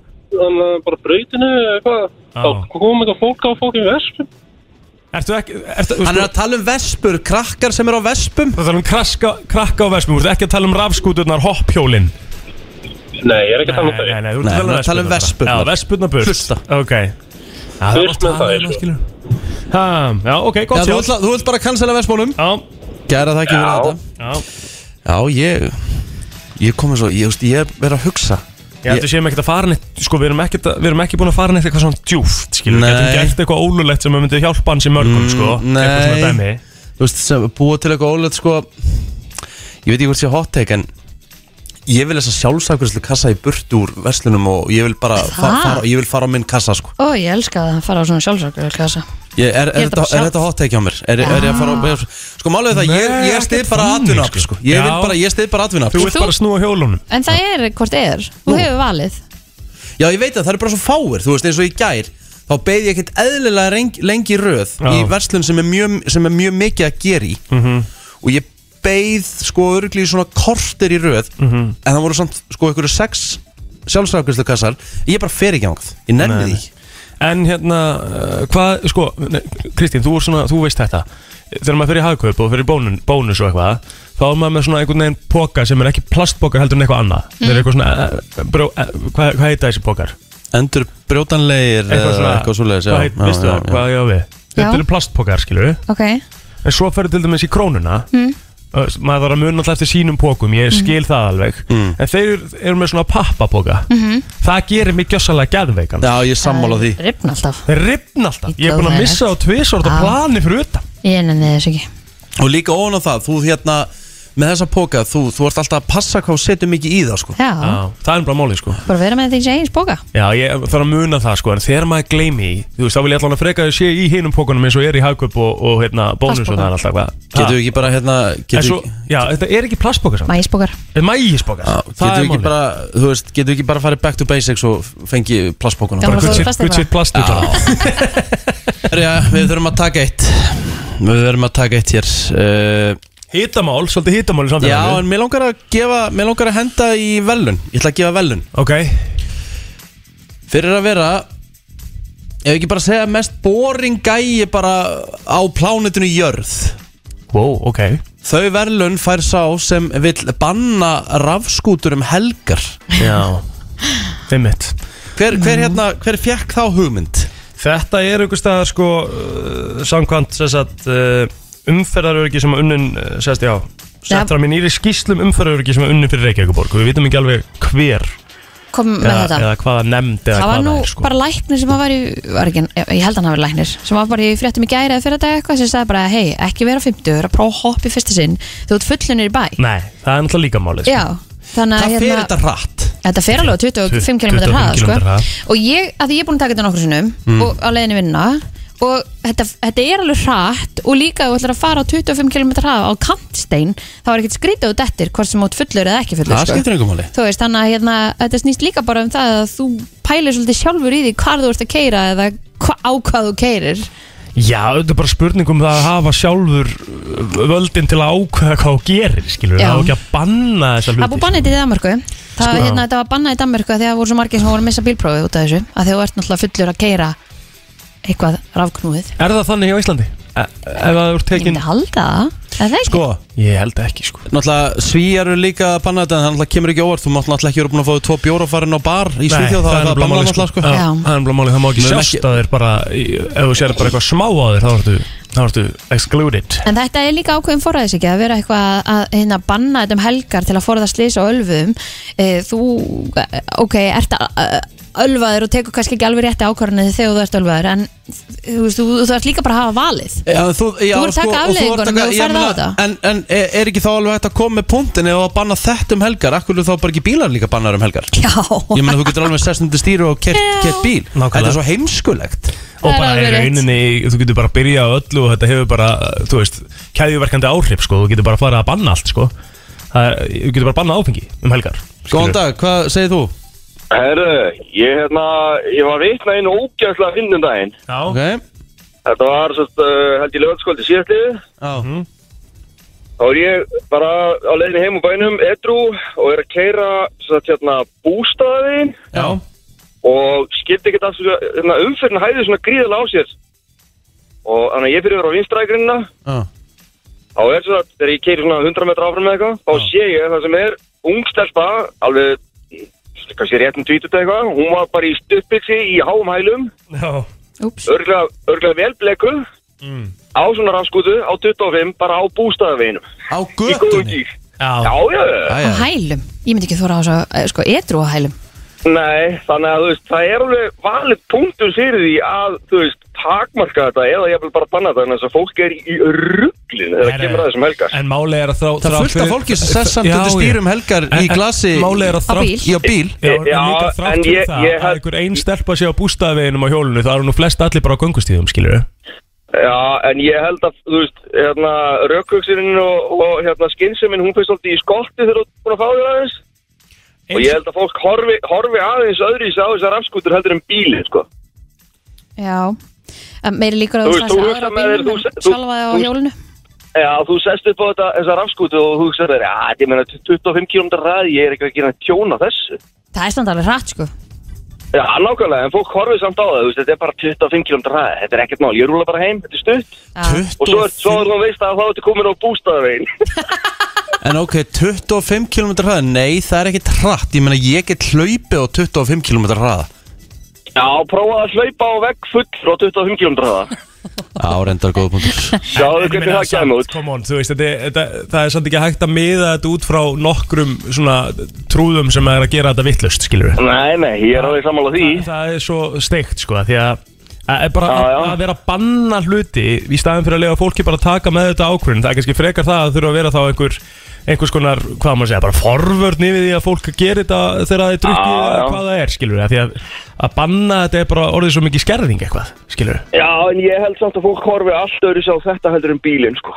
G: hana, bara eh, brautinu eða eitthvað
C: Já.
G: þá kom eitthvað fólk á fólkin vespum
C: Ertu ekki, ertu,
A: Hann er
C: sko,
A: að tala um vespur, krakkar sem er á vespum
C: það tala um kraska, krakka á vespum, þú ert ekki að tala um rafskúturnar hopphjólin
G: nei, ég er ekki að tala um þau
C: nei,
A: Nei,
C: þú
A: hann er
C: ert
A: að tala um
C: Já,
A: vespurnar.
C: vespurnar burt
A: Hlusta.
C: Ok Já, það
G: Burt
C: var
G: með þær,
C: um
G: sko.
C: skilur. Ha, Já, ok,
A: Já,
C: gott
A: þú
C: sjálf
A: vilt, þú vilt bara cancela vespunum
C: Já,
A: Gæra það ekki fyrir þetta
C: já
A: Já, ég Ég komið svo, ég, veist, ég er að hugsa
C: Ég held að við séum ekkert að fara neitt, sko við erum ekkert, að- við erum ekki búin að fara neitt eitthvað svona djúft, skilur, við
A: Nei. Mm,
C: getum gert eitthvað ólulegt sem við myndum hjálpa hans í mörgum, sko,
A: nei.
C: eitthvað svona dæmi.
A: Þú veist, sem, búa til eitthvað ólögt sko Ég veit ekki hvort sé hot take en Ég vil þess að sjálfsafgjörslu kassa í burt úr verslunum og ég vil bara fa
B: Það?
A: fara, ég vil fara á minn kassa sko
B: Ó, ég elska það að fara á svona sjálfsökulkassa
A: Ég, er, er,
B: Ég held
A: þetta,
B: að bara
A: er þetta hot take hjá mér? Er, er ég að fara á, sko málið er það, ég,
C: Nei,
A: ég stið
C: ekkert
A: bara
C: þannig,
A: atvinna
C: sko.
A: sko. Ég vil
C: Já.
A: bara, ég stið bara atvinna
C: Þú vilt
B: Þú-
C: bara snúa hjólunum.
B: En það er hvort eður, þú hefur valið
A: Já, ég veit að það eru bara svo fáir, þú veist, eins og í gær Þá beið ég ekkert eðlilega reng, lengi í röð
C: Já.
A: Í verslun sem er mjög, sem er mjög mikið að gera í
C: Mhm.
A: -hmm. Og ég beið sko örgli í svona korter í röð
C: Mhm.
A: -hmm. En það voru samt sko einhverju sex sjálfsrafgjörslu kassar Ég bara fer ekki ángað, ég nenni
C: Nei,
A: því
C: nei. En hérna, uh, hvað, sko, ne, Kristín, þú, ert svona, þú veist þetta Þegar maður fyrir hagkaup og fyrir bónun, bónus og eitthvað Þá er maður með svona einhvern veginn póka sem er ekki plastpókar heldur en eitthvað annað mm. Þeir eru eitthvað svona, uh, bró, uh, hvað, hvað heita þessi pókar?
A: Endur brjótanlegir eh,
C: Eitthvað svona,
A: eitthvað svoleiðis, já,
C: hvað heit,
A: já,
C: veistu
A: já,
C: það,
A: já.
C: hvað ég á við?
B: Já.
C: Þetta eru plastpókar, skilu
B: Ok,
C: En svo ferðu til dæmis í krónuna mm. Maður þarf að muna alltaf eftir sínum pókum, ég skil það alveg
A: Mm.
C: En þeir eru- eru með svona pappapóka
B: Mhm.
C: -hmm. Það gerir mig gjössalega geðveikan
A: já, ég er sammála því
B: ripna alltaf
C: Þeir ripna alltaf Ég er búin að missa á tvisort á
B: Ah.
C: plani fyrir utan
B: Ég nenni þess ekki
A: Og líka ofan á það, þú hérna Með þessa póka, þú, þú ert alltaf að passa hvað þú setur mikið í það sko
B: Já,
C: Já, það er bara málið sko
B: bara vera með því sem eigin spóka
C: Já, ég þarf að muna það sko En þegar maður gleymi í Þú veist, þá vil ég allan að freka að sé í hinum pókunum eins og er í hagkaup og, og hérna, bónus og það er alltaf hvað
A: Getur við ekki bara hérna
C: En
A: getum
C: svo,
A: við-
C: já, þetta er ekki plastbókar samt
B: Mægis spókar
C: Þetta er mægispókar
A: Já, getum
C: Það
A: við
C: er
A: ekki
C: málið
A: bara, þú veist, getum við ekki bara farið back to basics og fengi plastbókuna
B: Já.
A: bara,
B: Bara
C: Gutt
B: fóðu
C: sitt-
B: plastið
C: gutt
B: bara.
C: sitt plastið bara [LAUGHS]
A: ja, Við þurfum að taka eitt Við þurfum að taka eitt hér uh,
C: Hítamál, svolítið hítamál í
A: Já,
C: samfélaginu
A: en mér langar að gefa, mér langar að henda í velun Ég ætla að gefa velun
C: Ok,
A: Fyrir að vera Ef ekki bara segja mest boring gæi bara á plánetinu jörð
C: wow, ok
A: Þau verðlun fær sá sem vill banna rafskútur um helgar
C: Já Fimmitt
A: Hver, hver hérna, hver fekk þá hugmynd?
C: Þetta er einhvers staðar sko uh, samkvæmt sem sagt, uh, umferðaröryggi sem að unnin uh, sérst, já,
B: Já.
C: settra mér nýri skýslum um umferðaröryggi sem að unnin fyrir Reykjavíkuborg og við vitum ekki alveg hver
B: Kom með
C: eða,
B: þetta
C: eða hvaða nefnd eða
B: Það var
C: hvað
B: nú
C: það er sko.
B: bara læknir sem var í, var ekki, ég held að hann hafi verið læknir, sem var bara í fréttum í gæri eða fyrir dag eitthvað sem sagði bara, hei, ekki vera á 50, vera að prófa að hoppa í fyrsta sinn, þú ert fullunir í bæ.
C: Nei, það er náttúrulega líka málið sko.
B: Já, þannig
A: Það
B: að hérna-
A: fer þetta hratt
B: Þetta fer alveg á 25 km
C: 25
B: hraða sko.
C: kílómetra hraða.
B: og ég, að því ég er búin að taka þetta nokkur sinnum
A: Mm.
B: og á leiðinni vinna og þetta, þetta er alveg hratt og líka ef þú ætlar að fara á 25 km hraða á kantstein þá er ekkert skrítið út eftir hvort sem út fullur eða ekki fullur sko.
A: Það skiptir einhver máli
B: Þú veist, þannig að hérna, þetta snýst líka bara um það að þú pælir svolítið sjálfur í því hvað þú ert að keira eða hva, á hvað þú keirir
C: Já, þetta er bara spurning um það að hafa sjálfur uh, völdin til að ákveða hvað þú gerir, skilur við,
B: Já.
C: það er ekki að banna þessa
B: Það er búið
C: hluti
A: sko.
B: bannið í Danmarku Það
C: Sko.
B: var hérna, þetta var bannað í Danmarku af því að það voru svo margir sem voru að missa bílprófið út af þessu að því þú ert náttúrulega fullur að keira eitthvað rafknúið
C: Er það þannig hjá Íslandi? E ef það eru
B: Ég
C: tekin
B: myndi halda það, er það ekki?
A: Sko,
C: Ég held ekki, sko
A: náttúrulega svíjar eru líka að banna þetta en það náttúrulega kemur ekki óvart þú mátt náttúrulega ekki vera búin að fá þau tvo bjóra farin á bar í Svíþjóð þá er það
C: nefnilega
A: banna
C: málið,
A: náttúrulega sko
C: Já,
B: Já.
C: Það er nefnilega málið, það má ekki
A: Við höfum
C: sjást
A: ekki-
C: að þér bara í- Ef þú sér bara eitthvað smá að þér Þá ertu, þá ertu excluded
B: En þetta er líka ákveðin forræðis ekki að vera eitthvað að- að hérna, banna þetta um helgar til að forða slýsa á ölfum e, Þú, eh, ok, ert að- að- ölvaður og tekur kannski ekki alveg rétti ákvarðinu þegar þú ert ölvaður en þú, veist, þú, þú ert líka bara að hafa valið
A: Já, en þú, já, sko,
B: Þú ert taka
A: og þú ert
B: afleiðingunum
A: taka-
B: ef þú
A: ég
B: ferð á
A: meina,
B: þetta.
A: En, en er er ekki þá alveg hægt að koma með punktin eða að banna þetta um helgar akkur eru þá bara ekki bílar líka bannar um helgar
B: Já,
A: Ég meina þú getur alveg sest undir stýru og kert,
B: Já.
A: kert bíl
C: Nákvæmlega.
A: Þetta er svo heimskulegt
C: Og
B: Það er
C: bara í
B: alveg rétt.
C: rauninni, þú getur bara að byrja á öllu Og þetta hefur bara, þú veist, kæðjuverkandi áhrif sko. Þú getur bara að fara að banna allt sko. Það er, Þú getur bara að banna áfengi um helgar
A: Góðan dag, hvað segir þú?
F: Herru, ég, hérna, ég var vitna einu ógjöfslega finnum daginn.
C: Já,
A: Ok
F: eh, Þetta var, sérst, uh, held ég lögskvöldi síðastlið
A: Já.
F: og Þá er ég bara á leiðinni heim úr bænum, edru og er að keira satt, hérna, bústaðin
A: Já,
F: og skildi ekkert að hérna, umferðin hæði svona gríðilega á sér og þannig að ég fyrir að vera á vinstrækrinina
A: já,
F: þá er svo að þegar ég keiri svona 100 metra áfram með eitthvað þá sé ég það sem er ung stelpa alveg kannski réttum tvítut eitthvað hún var bara í stuppiksi í háum hælum
C: Já,
B: Úps,
F: örglega, örglega velbleku á svona rafskútu á 25 bara á bústaðaveginum
A: á
F: í góðu
A: göttunni
F: gík
C: já,
F: Já, já, já
A: Æ,
B: á hælum Ég myndi ekki þóra á svo, eh, sko, etru á hælum
F: Nei, þannig að þú veist, það er alveg valið punktur fyrir því að, þú veist, takmarka þetta eða ég vil bara banna þetta, þannig að fólk er í rugglinu þegar
C: Herre.
F: það kemur að þessum helgar.
C: En máli er að þrá
A: Það er fullt af fólki sem sess samt undir stýrum helgar í glasi
C: Máli er að
B: Á
C: þrá
B: bíl.
A: í á bíl
C: Já, en
F: Já,
C: líka
F: en
C: þrátt fyrir
F: ég-
C: það
F: ég
C: að
F: held-
C: einhver einn stelpa sé á bústaðveginum á hjólinu þá eru nú flest allir bara á göngustíðum, skilur við?
F: Já, en ég held að, þú veist, hérna, rökkvöksininn og, og hérna, skinnseminn, hún fyrst alltaf í skotti þegar þú ert búin að fá þér aðeins. Og ég held að fólk horfi, horfi aðeins öðru í sig á þessar afskútur heldur en bílinn, sko.
B: Já Að Meiri líkur
F: Þú
B: að þú
F: veist,
B: slæst
F: þú
B: aðra
F: hugsar
B: á
F: með þér,
B: bílnum
F: þú-
B: en
F: þú-
B: sjálfaði á
F: þú-
B: hjólinu
F: Já, þú sest upp á þetta, þessar afskútu og þú hugsaður þér, já, ég meina 25 km ræði, ég er ekki að gera tjón á þessu.
B: Það er standarlega hratt, sko
F: Já, nákvæmlega, en fólk horfið samt á það, þú veist, þetta er bara 25 km ræði, þetta er ekkert mál, ég rúla bara heim, þetta er stutt
B: Já.
F: og svo er, svo er þú veist að þá ertu komin á bústaðavegin.
A: En ok, 25 km hraða, nei það er ekkert hratt Ég meina ég get hlaupið á 25 km hraða
F: Já, prófaðu að hlaupa á vegg full frá 25 km
B: [LAUGHS]
F: ræða.
A: Á reyndar góða punktur
F: Sjáðu
C: En ég
F: hvernig
C: meina
F: það kemur
C: samt,
F: út.
C: Come on, þú veist, þetta, er- þetta, það er samt ekki hægt að miða þetta út frá nokkrum svona trúðum sem er að gera þetta vittlust, skilur við?
F: Nei, nei, ég er alveg sammála því.
C: Það, það er svo steikt, sko, af því að að bara
F: Já, já.
C: að vera að banna hluti í staðin fyrir að lega fólki bara að taka með þetta ákvörðin það er kannski frekar það að þurfa að vera þá einhver einhvers konar, hvað á maður að segja, bara forvörn yfir því að fólk gerir þetta þegar það er drukkið
F: Já,
C: eða
F: já.
C: hvað það er, skilur við, af því að að banna þetta er bara orðið svo mikið skerðing eitthvað, skilur við
F: Já, en ég held samt að fólk horfið allt öðru sér á þetta heldur en bílinn, sko.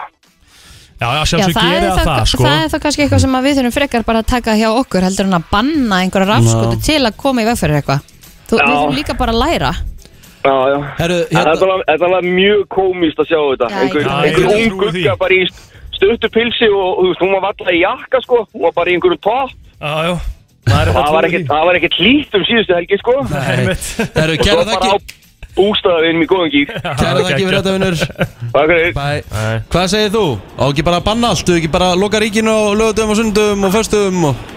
C: Já, já,
B: Já,
C: sjálfsög
B: það, er
C: gerir
B: það,
C: það, það, sko
B: það er það kannski eitthvað sem að við þurfum frekar bara að taka hjá okkur heldur en að banna einhverja rafskotu til að koma í veg fyrir eitthvað Þú, Við
F: Já.
B: þurfum líka bara að læra
F: Já, já.
A: Herru,
F: En Það er
A: hérna,
F: bara- þetta er alveg mjög komist að sjá þetta.
B: Já,
F: Einhver,
B: ég-
C: Já,
F: einhver
C: ég
F: ung
C: trúi því.
F: gugga bara í stuttu pilsi og þú veist, hún var valla í jakka, sko. Hún var bara í einhverjum topp.
C: Já, já, maður er
F: Það var ekkert- það var ekkert hlýtt um síðustu helgi, sko.
C: ekkert
A: herru,
F: og
A: kæra
F: svo bara á
A: þakki
F: bústaðavinn í góðan gík
A: Kæra þakki fyrir þetta vinnur
F: Takk fyrir
A: Bæ Hvað segir þú? Á ekki bara að banna allt, þú ekki bara að loka ríkinu og lögutum og sundum og föstum og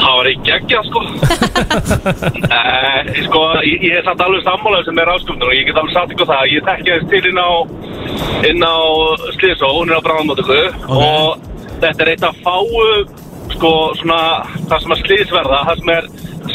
G: Það var ekki geggja sko
C: [LAUGHS]
G: eh, Sko, ég, ég er samt alveg sammálaður sem er áskjöfnur og ég get alveg sagt ykkur það Ég tekja þess til inn á, inn á Sliðsó, hún er á bráðmáttöku Og þetta er eitt af fáu, sko, svona, það sem að sliðsverða Það sem er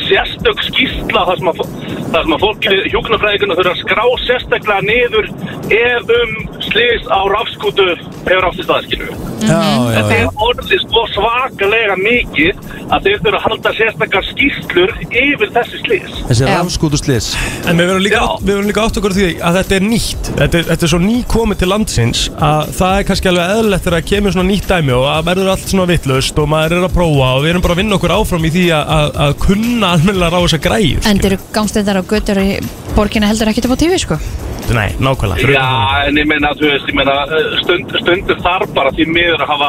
G: sérstök skýrsla, það sem að, fó- það sem að fólki hjúknarfræðikuna þurfa að skrá sérstaklega niður ef um sliðs á rafskútu hefur átti staðskinu
B: Mm.
A: Já, já,
G: Þetta
A: já
G: er orðið svo svakalega mikið að þeir þurfa að halda sérstakar skýrslur yfir þessi slís.
A: Þessi
B: Já.
A: rafskútuslis
C: En við verðum líka,
G: Já.
C: átt- við verðum líka átt okkur á því að þetta er nýtt þetta er, þetta er svo ný komið til landsins að það er kannski alveg eðlilegt þegar að kemur svona nýtt dæmi og að verður allt svona vittlust og maður er að prófa og við erum bara að vinna okkur áfram í því að, að, að kunna almennilega á þessa græjur
B: En eru gangstendar og götur í borginna heldur ekkert upp á tífi sko
C: skilur. Nei, nákvæmlega fyrir utan það.
G: Já, en ég meina, þú veist, ég meina, eh, stund, stundur þarf bara því miður að hafa,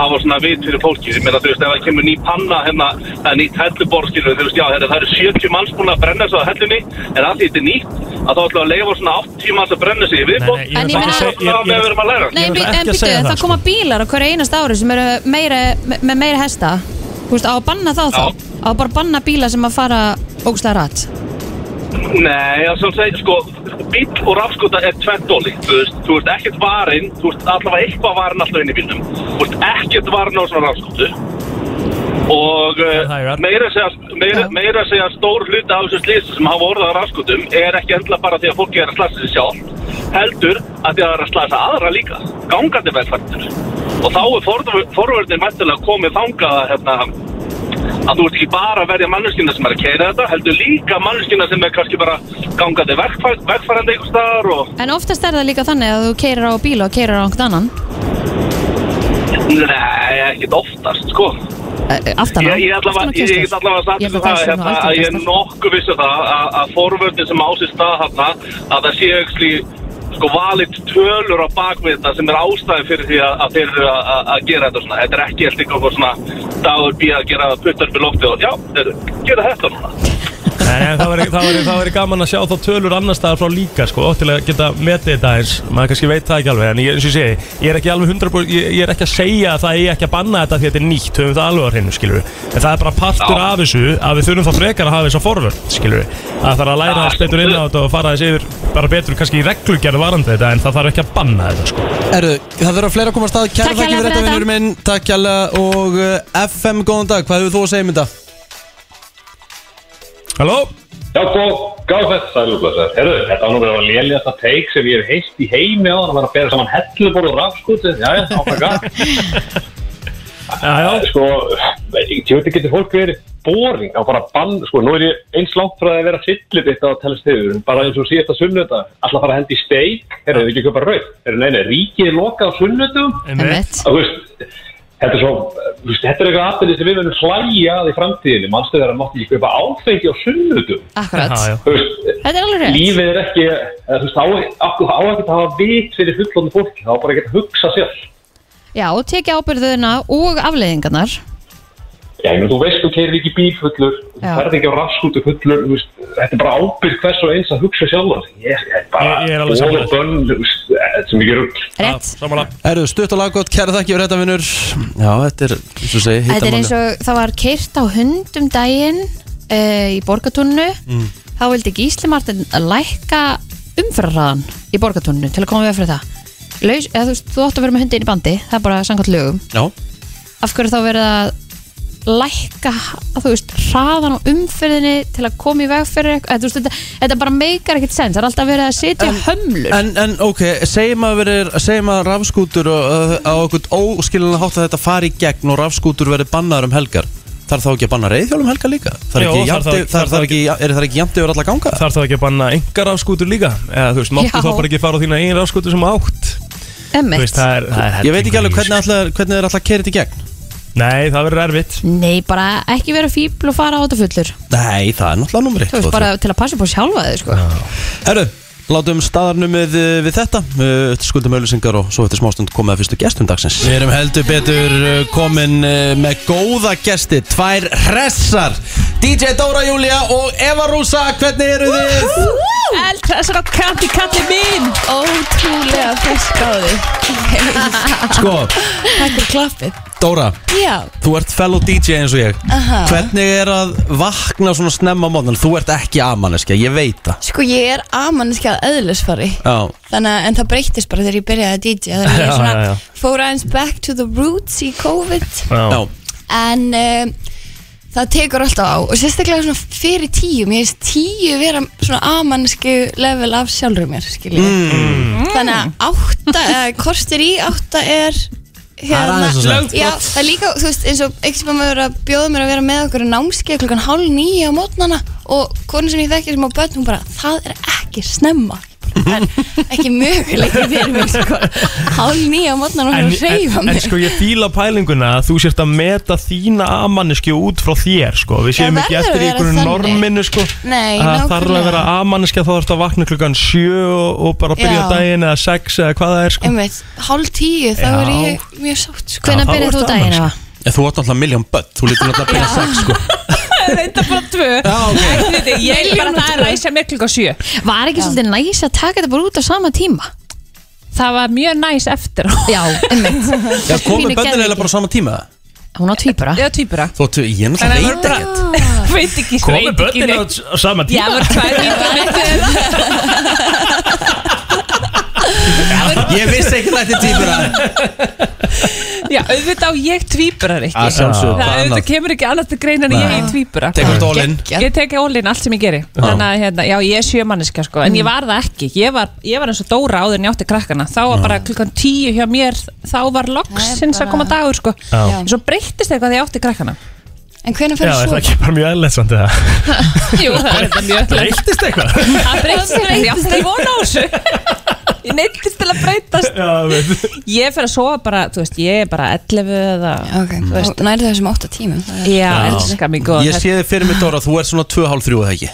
G: hafa svona vit fyrir fólki. Ég meina, þú veist, ef það kemur ný panna hérna, það er nýtt helluborskilur, þú veist, já, hérna, það eru 70 manns búin að brenna sig á hellunni, en að því þetta er nýtt, að þá ætlum við að leifa svona 80 manns að brenna sig í viðbótt.
C: Nei, nei,
B: En
C: ég
B: ég
C: er
B: meina-
C: bara að
G: Það með
C: segja
G: verum að læra.
B: Nei, en
C: ætla ekki að
B: býttu,
C: segja
B: það,
C: það, sko.
B: koma bílar á hverju einast ári sem eru meira, með, með meira hesta Þú veist, á að banna þá þá Á að bara banna bíla sem að fara ógstlega rætt
G: Nei, það sem segir, sko, bíl og rafskota er tvent óli, þú veist, þú veist ekkert varinn, þú veist allavega eitthvað varinn alltaf inn í bílnum, þú veist ekkert varinn á svona rafskotu og
C: það er
G: uh,
C: rétt.
G: meira að segja, meira,
B: Já.
G: meira að segja stór hluti af þessu slýsum sem hafa orðað á rafskotum er ekki endla bara því að fólki er að slasa sig sjálf, heldur að því að það er að slasa aðra líka, gangandi velfærdur og þá er forvör- forvörnin mættilega komið þangað að, hérna, að þú ert ekki bara að verja manneskina sem er að keira þetta, heldur líka manneskina sem er kannski bara gangandi vegfæ- vegfærandi einhvers staðar og
B: En oftast er það líka þannig að þú keirir á bíla og keirir á einhvern annan
G: nei, ekkert oftast, sko.
B: Eh, Aftan á
G: Ég, ég ætla
B: Aftan á
G: að ég get
B: kyrrstól.
G: allavega sagt
B: Ég held
G: um
B: að það
G: það
B: sé nú
G: hérna, að ég er um
B: algengastar.
G: nokkuð vissu það að, að forvörðin sem á sér stað hérna, að það sé auksli sko valið tölur á bakvið þetta sem er ástæði fyrir því að, að þeir eru að- að að gera þetta svona. Þetta er ekki eftir eitthvað svona dagur bí að gera puttar upp í loftið og já, þeir gera þetta núna.
C: Nei, en það væri, það, væri, það væri gaman að sjá þá tölur annar staðar frá líka sko, til að geta metið þetta eins maður kannski veit það ekki alveg, en ég, eins og ég segi ég er ekki alveg 100%, ég, ég er ekki að segja að það er ekki að banna þetta því að þetta er nýtt, höfum það alveg að hreinu skilur við, en það er bara partur
G: Já.
C: af þessu að við þurfum þá frekar að hafa þess að forvörn skilur við, að það þarf að
G: Já,
C: læra
G: sko,
C: þess betur inn á þetta og fara þess yfir bara betur kannski í reglugjörðu varandi þetta, en það þarf ekki að banna þetta sko.
A: Erðu, það verður að fleira að koma að stað Kæra
B: Takk
A: þakki
B: hérlega
A: fyrir þetta
B: fyrir
A: vinnur minn Takk kjærlega og uh, FM, góðan dag Hvað hefur þú að segja mynda?
C: Halló?
I: Já, sko, góð, gáð þetta sælublöðsar. Herru, þetta ánum verið að lélja þetta teik sem ég hef heist í heimi á, það var að bera saman helluborð og rafskúti, já, já, áfækka.
C: Já, já,
I: Sko, ég tjóti getur fólk verið boring á bara bann, sko, nú er ég eins langt frá því að vera sillit eitt á að tala stiður, bara eins og síðast að sunnuta, alltaf fara að hendi í steik, herru, þau ekki að köpa rauð, herru, nei, nei, ríkið er lokað á sunnutum,
C: einmitt.
I: Þú veist, þetta er svo þú veist, þetta er eitthvað aðbyrði sem við verðum hlæja að í framtíðinni, mannstu þegar að mátti ekki kaupa áfengi á sunnutum,
B: akkurat
C: Já, já.
I: þú veist,
B: Þetta er alveg rétt
I: lífið er ekki eða, þú veist, á, á, á ekki að hafa vit fyrir fullónu fólki, þá bara að geta hugsa sér
B: Já, og tekja ábyrðuna og afleiðingarnar
I: já, ég menn, þú veist, þú keirir ekki bíl fullur þú
B: Já.
I: ferð ekki á raskútu fullur þú veist, þetta er bara ábyrg hvers og eins að hugsa sjálfan sig. ég, ég er bara
C: Ég- ég er alveg sammála.
I: bönn, þú veist, þetta er sem ég gerur
B: Rétt
C: Samanlega.
A: Erðu, stutt og laggótt, kæra þakki fyrir þetta vinnur Já, þetta er, eins og segi,
B: Þetta er
A: hittamann
B: eins og það var keirt á hundum daginn e, í borgatúnnu
C: Mm.
B: þá vildi Gísli Martin lækka umfyrarraðan í borgatúnnu til að koma við fyrir það Laus, eða, þú, veist, þú átt að vera með hundi inn í bandi það er bara samkvæmt lögum
A: Já,
B: af hverju þá verið að lækka þú veist, hraðan á umferðinni til að koma í veg fyrir eitthvað eða, þú veist, þetta, þetta bara meikar ekkert sens það er alltaf verið að setja hömlur
A: en, en ok, segjum að verið segjum að rafskútur og, uh, á okkur óskilina hátt að þetta fari í gegn og rafskútur verið bannaður um helgar Þarf þá ekki að banna reiðhjólum helgar líka? Þarf
C: Jó,
A: ekki
C: þarf
A: jafnt
C: það-
A: yfir- þarf-
C: þarf
A: þarf ekki- Er það ekki jæmt yfir alla ganga?
C: Þarf það ekki að banna engar rafskútur líka eða þú veist, máttu
B: Já.
C: þá bara ekki fara á þína einn rafskútur sem þú átt Þú
B: Emmett.
C: veist, það er, það er
A: Ég veit ekki alveg
C: hellingur í
A: hvernig, allar, hvernig er alltaf að kerið í gegn
C: þessu. Nei, það verður erfitt
B: Nei, bara ekki vera fíbl og fara á þetta fullur
A: Nei, það er náttúrulega numri
B: Þú veist, bara til að passa upp á sjálfa þig sko.
A: Herru, látum staðarnumið eh, við þetta Eh, Eftir skuldum auðlýsingar og svo eftir smástund komið að fyrstu gestum dagsins Við erum heldur betur eh, komin eh, með góða gesti Tvær hressar DJ Dóra Júlia og Eva Rúsa Hvernig eru þið?
B: Eldhressar og kanti kalli mín Ótrúlega fersk á [LAUGHS] þig
A: Sko,
B: Takk fyrir klappið
A: Dóra,
B: Já,
A: þú ert fellow DJ eins og ég Hvernig er að vakna svona snemma móðan? Þú ert ekki amanneska, ég veit það
J: Sko ég er amanniski að eðlisfari
A: Já,
J: Þannig að, en það breyttist bara þegar ég byrjaði að DJ Þannig að
C: Já,
J: ég svona
C: já, já.
J: fór aðeins back to the roots í COVID
A: já,
J: En um, það tekur alltaf á Og sérstaklega svona fyrir tíu Mér finnst tíu vera svona amanniski level af sjálfur mér skilji mm. Þannig að átta, eða kortir í átta er
A: Það er aðeins og slæmt.
J: Já, það er líka, þú veist, eins og einhvers sem maður verið að bjóða mér að vera með okkur námskeið klukkan hálf nýja á mótnana og konu sem ég þekki sem á börn, hún bara, það er ekki snemma Það er ekki möguleikir fyrir mig sko. hálf nýja á mótnana og hún er að reyfa
C: en, en
J: mig
C: sko ég fíla pælinguna að þú sért að meta þína amanneski út frá þér sko. Við séum
J: Það
C: ekki
J: verður
C: eftir
J: að
C: í
J: vera
C: einhverju
J: þannig.
C: norminu sko.
J: Nei,
C: að þarf að
J: nákvæmlega.
C: vera amanneski þá þarfst að vakna klukkan sjö og, og bara byrja
J: Já.
C: daginn eða sex eða hvað það er sko.
J: Einmitt, hálf tíu, þá
C: Já.
J: er ég mjög sátt sko.
B: hvenær
C: þá
B: byrjar þú
C: ertu
B: daginn
C: amanneska.
B: eða?
A: En Þú ert náttúrulega miljón börn, þú lítur náttúrulega byrja sex sko
K: Þetta er bara tvö
A: Já, ok
K: Ég vil bara það að ræsa mér klukka sjö
B: Var ekki svolítið næs að taka þetta bara út á sama tíma?
K: Það var mjög næs eftir á.
B: Já,
K: [LAUGHS]
B: einmitt
A: Já, komið bönnir eða bara á sama tíma
B: Hún á tvíbara
K: Ég var týpura
A: Þú áttu, ég er
K: Þannig að það
A: náttúrulega veit
K: var [LAUGHS]
A: ekkert
K: Veit ekki
C: Komið
K: veit ekki
C: börnin á,
K: neitt.
C: á sama
K: Já,
C: tíma
K: það var tvær mínútur
C: [LAUGHS]
K: milli.
A: [LAUGHS] Ég vissi ekki þetta tímur að
K: Já, auðvitað á ég tvíburar
A: Að
K: ekki Það
A: sjálfsögðu, hvað
K: auðvitað
A: annað?
K: kemur ekki annað til greina en ég er tvíbura
A: Tekur þetta all-in
J: Geggjað.
K: Ég teki ólinn allt sem ég geri Þannig að hérna, já, ég er sjömanniska sko En ég var það ekki, ég var, ég var eins og Dóra áður en ég átti krakkana Þá var bara klukkan tíu hjá mér Þá var loksins
J: bara-
K: að koma dagur sko
C: Já.
K: En Svo breyttist eitthvað þegar ég átti krakkana
J: En hvenær
C: Já,
J: fyrir
C: er það
J: svo?
C: ekki bara mjög eðlætt samt eða?
K: [LAUGHS] Jú, það er þetta mjög
C: Breyttist eitthvað?
J: [LAUGHS]
K: Það breyttist eitthvað, ég átti von á þessu Ég neittist til að breytast
C: Já, veit
K: Ég fer að sofa bara, þú veist, ég er bara 11 eða
J: Ok, þú veist, nærðu þessum átta tímum það er-
K: Já, elska mig góð
A: Ég sé þið fyrir mig Dóra, þú ert svona 2.5-3 eða ekki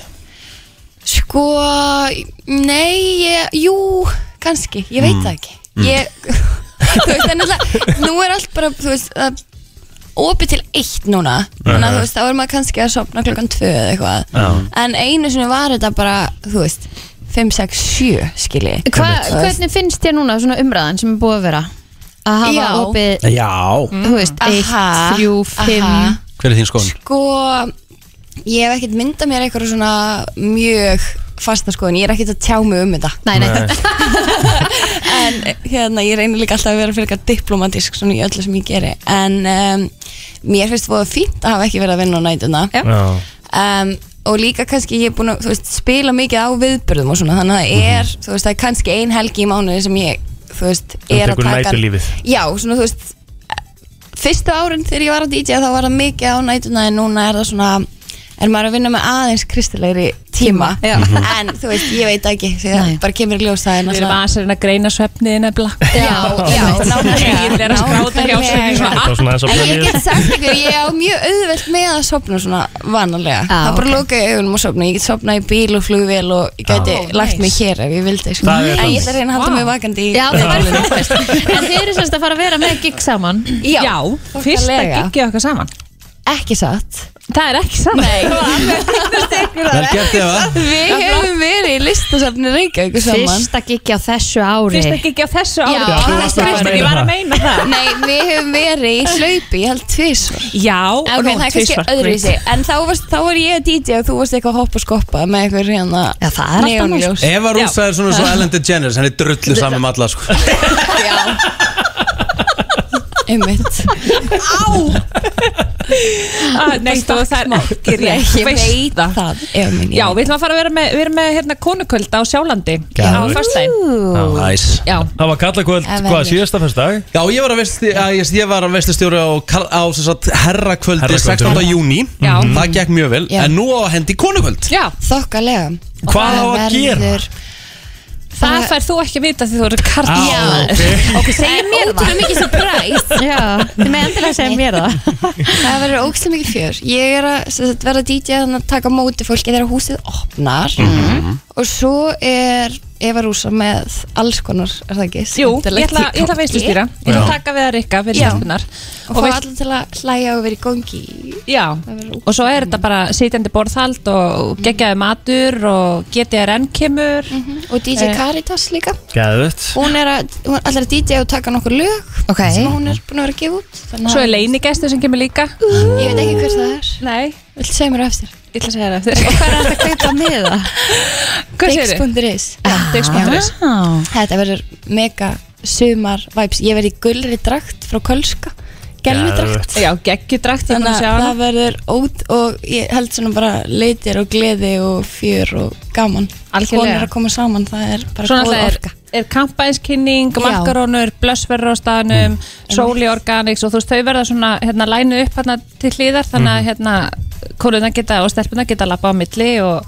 J: Sko, nei, ég, jú, kannski, ég veit
L: Mm.
J: það ekki
L: Mm.
J: ég, [LAUGHS] þú veist, en alltaf nú er allt bara, þú veist að, opið til eitt núna þannig að
L: Já.
J: þú veist, þá er maður kannski að sopna klukkan tvö eða eitthvað,
L: Já.
J: en einu sinni var þetta bara, þú veist 5, 6, 7 skilji
B: Hva, hvernig finnst þér núna svona umræðan sem er búið að vera að hafa
J: Já.
B: opið
K: Eh,
A: Já,
K: Mm.
B: þú veist, eitt,
J: Aha,
B: þrjú,
J: aha.
B: fimm
A: hver er þín skoðun?
J: Sko, ég hef ekkert myndað mér eitthvað svona mjög fasta skoðun, ég er ekkert að tjá mig um þetta
B: Nei,
A: nei. Nei.
J: En
B: [LAUGHS]
J: hérna, ég reynir líka alltaf að vera fyrir eitthvað diplomatísk svona í öllu sem ég geri En um, mér finnst það fínt að hafa ekki verið að vinna á nætuna
L: Já.
J: um, Og líka kannski ég er búin að þú veist, spila mikið á viðbörðum og svona Þannig að það er, þú veist, það er kannski ein helgi í mánuði sem ég, þú veist,
C: Mhm. Þú
J: er að
C: tekur
J: taka
C: næturlífið.
J: Já, svona, þú veist, fyrstu árin þegar ég var að DJ þá var það mikið á nætuna en núna er það svona er maður að vinna með aðeins kristilegri tíma, Mhm. en þú veist, ég veit ekki því það bara kemur í ljós það
K: Við erum aðeins að reyna að greina svefniði nefnilega
J: Já,
K: [LAUGHS]
J: já, nákvæmlega.
K: Ég er að skráta hjá sér í svona
C: Þetta var svona aðeins að
J: En ég
C: plana
J: get sagt ykkur, ég á mjög auðvelt með að sopna svona vanalega Það bara loka ég augunum og sopna, ég get sopna í bíl og flugvél og ég gæti
B: Ó,
J: lagt mig
B: nice.
J: hér ef ég vildi sko.
B: Ah, Það er
J: En
B: þannig.
J: ég ætla að reyna að halda mig vakandi í
B: [LAUGHS] Já, það
J: viðtalinu.
B: verður frábært En þið eru semst að fara að vera með gig saman
J: Já,
K: Fyrsta
J: þokkalega.
K: giggið okkar saman
J: Ekki satt
K: Það er ekki satt
A: Vel gert þið, va?
J: Við hefum verið í listasafni Reykjavík saman
B: Fyrsta giggi á þessu ári
J: Fyrsta
K: giggi á þessu
J: ári. Já, þú varst að
B: fyrsta giggi.
J: meina það.
K: meina
J: Nei, við höfum verið í hlaupi, ég held tvísvar
K: Já,
J: okay,
K: og nú
J: það er kannski
K: tvisvar,
J: öðruvísi
K: great.
J: En þá, varst, þá var ég að DJ og þú varst eitthvað að hoppa og skoppa með eitthvað hérna Já, það
B: er allt annað.
A: Eva Rúsa er svona svo Ellen DeGeneres, henni drullu saman með alla sko.
J: Einmitt Á
K: Ah, Nei, stóð það er ekki rétt
J: Ég veit
K: það,
J: það minn,
K: Já, við ætlum að fara að vera með, við erum með hérna, konukvöld á Sjálandi á
C: Geðveikt.
K: föstudaginn
A: Næs
K: Já.
C: Það var kallakvöld,
K: Ef
C: hvað,
K: verður.
C: síðasta fyrstdag?
A: Já, ég var að veistu, ég, ég var að veistu stjóra á, kar- á sem sagt, herrakvöldi
C: Herrakvöldi.
A: 16. júni
K: Já.
A: Það gekk mjög vel,
J: Já.
A: en nú á að hendi konukvöld
K: Já,
J: þokkalega
A: Hvað á að gera?
K: Það fær þú ekki að vita því þú eru karl
A: Á, Já. ok.
K: ok, segir mér það
J: Ótrúlega mikið surprise
B: Já, þið með endilega segja mér það
J: Það verður ógstlega mikið fjör Ég er að sem sagt, verða DJ þannig að taka á móti fólki þegar húsið opnar
B: Mhm.
J: og svo er Eva Rúsa með alls konar er það ekki?
K: Jú, ég ætla, ég ætla að veistustýra Ég ætla að
J: Já.
K: taka við að rikka við
J: Já.
K: lífnar
J: og fá alla til að hlæja og vera í gangi
K: Já, og svo er þetta bara sitjandi borðhald og geggjaði matur og GTRN kemur
J: Mhm.
K: Eh.
J: og DJ Caritas líka
C: Gæðut
J: hún er að, hún allar að DJ og taka nokkur lög
B: okay.
J: sem hún er búin að vera að gefa út þannig að-
K: Svo er leinigestur sem kemur líka
J: Ég veit ekki hver það er
K: Nei
J: Viltu segja mér á eftir?
K: Ég ætla að segja það eftir
J: Og hvað er þetta að kaupa með það? Ah.
K: Hvað segirðu?
J: Dix.is
K: Dix.is.
J: Þetta verður mega sumar vibes Ég verði í gulri drakt frá Kölska Gelvi drakt
K: Já, geggjudrakt ég er búin
J: Þannig
K: að sjá
J: að
K: hana.
J: það verður ót og ég held svona bara leitir og gleði og fjör og gaman
K: Algjörlega.
J: Konur að koma saman, það er bara
K: Svona
J: góð
K: alltaf er,
J: orka
K: er kampænskinning,
J: Já. Mm,
K: makarónur, blössverður á staðnum, sóli organics og þú veist þau verða svona hérna lænu upp hérna til hlýðar þannig
J: Mm.
K: að hérna konuna geta og stelpuna geta lappa á milli og,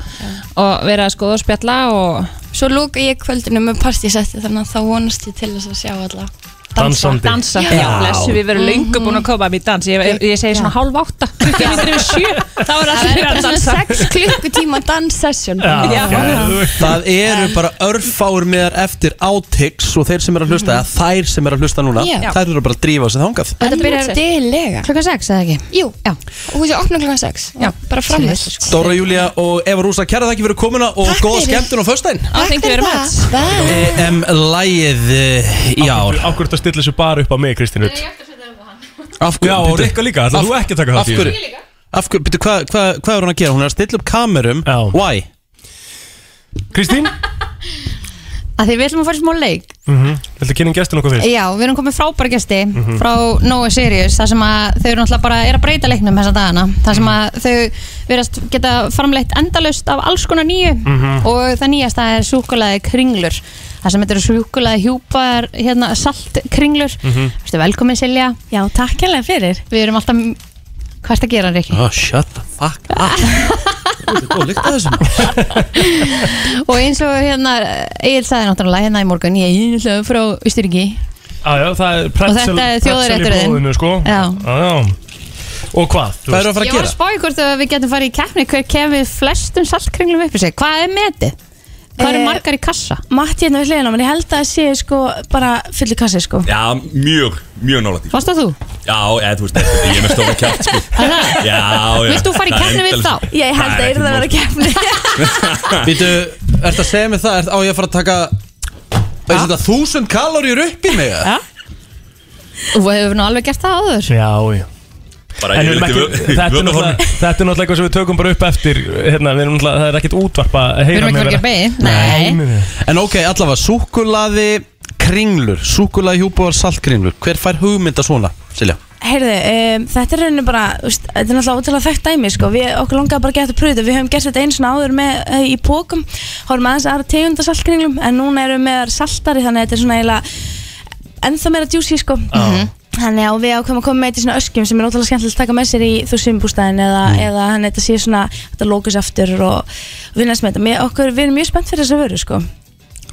K: og vera að skoða og spjalla og
J: Svo lóka ég kvöldinu með partísetti þannig að þá vonast ég til þess að sjá alla
K: Dansandi. Dansa, já, blessu, við verum löngu búin að koma um í dans Ég, ég, ég segi svona hálf átta, 20 minnir yfir sjö Þá er allir fyrir að
J: bara
K: dansa
J: svona 6 klukkutíma danssessjón
K: Já.
A: Það eru bara örfáur meðar eftir átiks og þeir sem eru að hlusta, eða þær sem eru að hlusta núna
J: Já.
A: þær eru bara að drífa sig þangað
B: Þetta byrjar
J: Dilega
B: klukkan 6 eða ekki?
J: Jú, já. og húsið opna klukkan 6 Já. Bara framhætt sko.
A: Dóra Júlia og Eva Rúsa, kæra þakki fyrir komuna og góða
J: fyrir.
A: skemmtun á föstudaginn E
K: I think very much
A: EM lægið Eh, í ár
C: Akkur þetta stilla þessu bara upp á mig, Kristín Rutt
A: Af hverju?
C: Já, og
A: Bíddu.
C: Rikka líka, ætlar
A: Af-
C: þú ekki að taka þátt í
A: af hverju?
C: þessu?
A: Af hverju, byrju, hvað hva, hva er hún að gera? Hún er að stilla upp kamerum Já. Why?
C: Kristín?
B: Að því við ætlum að fara í smá leik
C: Mhm. Viltu kynna um gestin okkur fyrir?
B: Já, við erum komið frábæra gesti
C: Mhm.
B: frá Noah Sirius þar sem að þau eru náttúrulega bara er að breyta leiknum þessa dagana þar sem að þau verðast geta framleitt endalust af alls konar nýju
L: Mhm.
B: og það nýjasta er súkulaði kringlur þar sem þetta eru súkulaði hjúpar hérna, salt kringlur
L: Mhm.
B: Vertu velkomin Silja Já, takk hérlega fyrir Við erum alltaf, hvað er það að gera [LAUGHS] Rikki?
A: Oh, shut the fuck
J: [LAUGHS]
A: up Þú ert góð líkt að þessum
B: og eins og hérna, Egil sagði náttúrulega hérna í morgun, ég er náttúrulega frá Ísturíki
C: Ah, Já, já, það er pretzel
B: Og þetta er
C: pretzel í
B: þjóðarrétturinn.
C: blóðinu, sko.
B: Já.
C: Já, já Og hvað?
A: Hvað
C: þú
A: eru
C: veist?
A: að fara
B: Ég var að spá í hvort að við getum farið í keppni hver kemur flestum saltkringlum upp í sig. Hvað er metið? Hvað eru margar í kassa?
L: Eh, Matti hérna við hliðina, menn ég held að það séu sko bara fullu kassi sko
M: Já, mjög, mjög nálægt því. sko.
B: Varst það þú?
M: Já, eða þú veist, ég er með stóra kjátt sko. Já, já
L: Vilt þú fara í
M: Það er
L: keppni við
M: endalaust.
L: þá? Ég held að
M: Það er
L: yrði að vera keppni
A: Býtu, ert að segja mig það, ert á ég að fara að taka Það er þetta þúsund kaloríur upp í mig Já
B: Þú hefur nú alveg gert það áður
C: Já, já
M: Bara
C: En við erum
M: yfirleitt
C: ekki,
M: í vö- í [LAUGHS]
C: þetta, er
M: vöðvahorni.
C: náttúrulega- þetta er náttúrulega eitthvað sem við tökum bara upp eftir hérna, við erum náttúrulega, það er ekkert útvarpa að
B: Við
C: heyra
B: erum ekki
C: mig
B: að gera
C: vera-
B: bein Nei
A: En ok, allavega, súkulaði kringlur, súkulaði hjúbúar saltkringlur Hver fær hugmynda svona, Silja?
L: Heyrðu, um, þetta er rauninni bara, þú veist, þetta er náttúrulega ótrúlega þekkt dæmi sko við, Okkur langaði bara að geta að pröfu þetta, við höfum gert þetta eins og áður með uh, í pókum Hórum aðeins aðra tegunda saltkringlum en núna erum við með þær saltari þannig að þetta er svona eiginlega ennþá meira djúsi sko
B: Já.
L: Þannig að og við ákveðum að koma með þetta í svona öskjum sem er ótrúlega skemmtilegt að taka með sér í þú sumbústæðin eða, eða hann þetta sé svona, þetta lókus aftur og vinnast með þetta. Mér, okkur, við erum mjög spennt fyrir þessa vöru sko.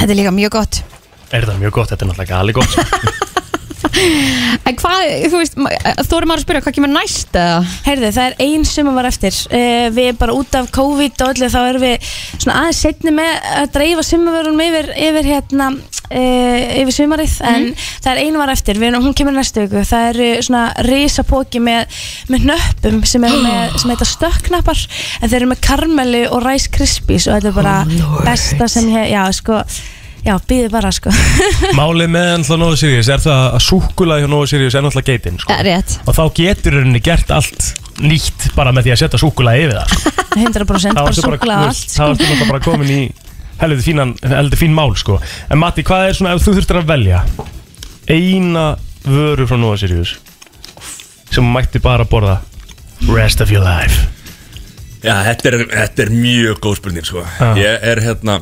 B: Þetta er líka mjög gott
C: Er það mjög gott, þetta er náttúrulega
B: [LAUGHS]
C: alveg gott sko.
B: En hvað, þú veist, þú erum að spyrja hvað kemur næst eða?
L: Herði, það er ein sem var eftir uh, Við bara út af COVID og öllu þá erum við svona aðeins setni með að dreifa sumavörunum yfir, yfir hérna uh, yfir sumarið en það er ein var eftir, við, erum- hún kemur næstu viku það eru svona risapóki með, með nöppum sem er með sem heita stökknappar en þeir eru með karmelu og Rice Krispies og þetta er bara besta sem ég, já sko já, býði bara sko
C: Málið með náttúrulega Nóðu Sirius er það að súkulaði hjá Nóðu Sirius er náttúrulega geitin sko.
L: [LAUGHS]
B: Rétt
C: og þá getur henni gert allt nýtt bara með því að setja súkulaði yfir það sko.
L: 100%
C: Þá
L: bara
C: ertu
L: súklaði
C: þú
L: allt
C: veist, þá ertu náttúrulega bara komin í helviti fínan, helviti fín mál sko. en Matti, hvað er svona ef þú þurftir að velja eina vöru frá Nóa Sirius sem þú mætti bara borða rest of your life
M: Já, þetta er, þetta er mjög góð spurning sko.
C: Já.
M: Ég er hérna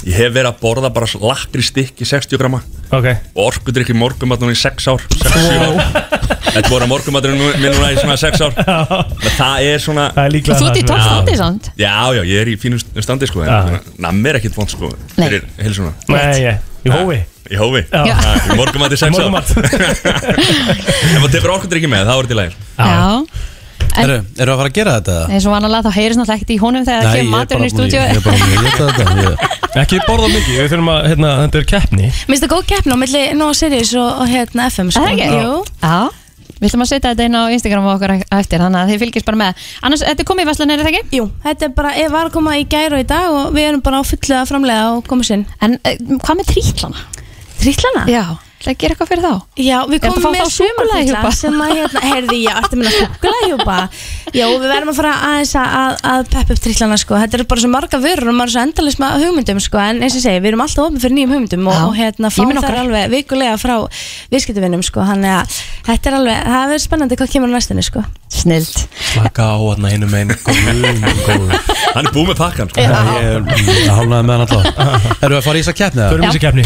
M: Ég hef verið að borða bara lakri stykki 60 grama
C: ok,
M: og orkudrykki morgumatnum í 6 ár 6-7 ár Þetta voru morgumatnum minn núna í svona 6 ár Men það er svona
C: Það er
B: Þú ert í topp standi samt
M: Já, já, ég er í fínu standi sko en Nammi er ekkit vond sko
B: Nei.
M: fyrir heilsuna
C: Nei, ég, í hófi
M: Í hófi,
C: Já.
M: Já, í morgumat í 6 ár
C: Morgunmat.
M: [LAUGHS] Ef maður tekur orkudrykki með, þá er þetta í lægir
B: Já
A: Eru, eru að fara að gera þetta? eða?
B: eins og vanalega þá heyrist náttúrulega ekkert í honum þegar það kemur maturinn í stúdíu
A: ég er bara mjög létt að þetta ég-
C: ekki borða mikið, við þurfum að hérna, þetta er keppni
L: Mér finnst það góð keppn á milli Nóa Sirius og, og hérna FM sko.
B: Er það ekki?
L: Jú.
B: Já, við ætlum að setja þetta inn á Instagram á okkar á eftir þannig að þið fylgist bara með annars, þetta er komið í Veslanir, er það ekki?
L: Jú, þetta er bara, ég var að koma í gæru í dag og við erum bara á fullu að framlega og koma sinn
B: En eh, hvað með trítlana?
L: Trítlana?
B: Já, ætla að gera eitthvað fyrir þá
L: Já, við
B: Ég ætla að
L: komum
B: fá
L: með
B: þá súkkulaðihjúpa.
L: súkkulaðihjúpa sem að, hérna, heyrði ég, ertu minna súkulaðhjúpa Já, og við verðum að fara aðeins að, að, að peppa upp trítlana, sko, þetta eru bara svo marga vörur og maður er svo endalist með hugmyndum, sko en eins og ég segi, við erum alltaf opið fyrir nýjum hugmyndum og,
B: Já,
L: og hérna,
B: ég
L: fáum
B: minn
L: þær
B: okkar.
L: alveg vikulega frá viðskiptuvinnum, sko, þannig að þetta er alveg, það verður spennandi hvað kemur á næstunni, sko
B: Snilt
A: Slaka á hann einu megin Hann
M: er búið með pakkan
A: sko. Ég mm, hálnaði með hann alltaf Erum við að fara í þess að keppni?
C: Förum í þessa keppni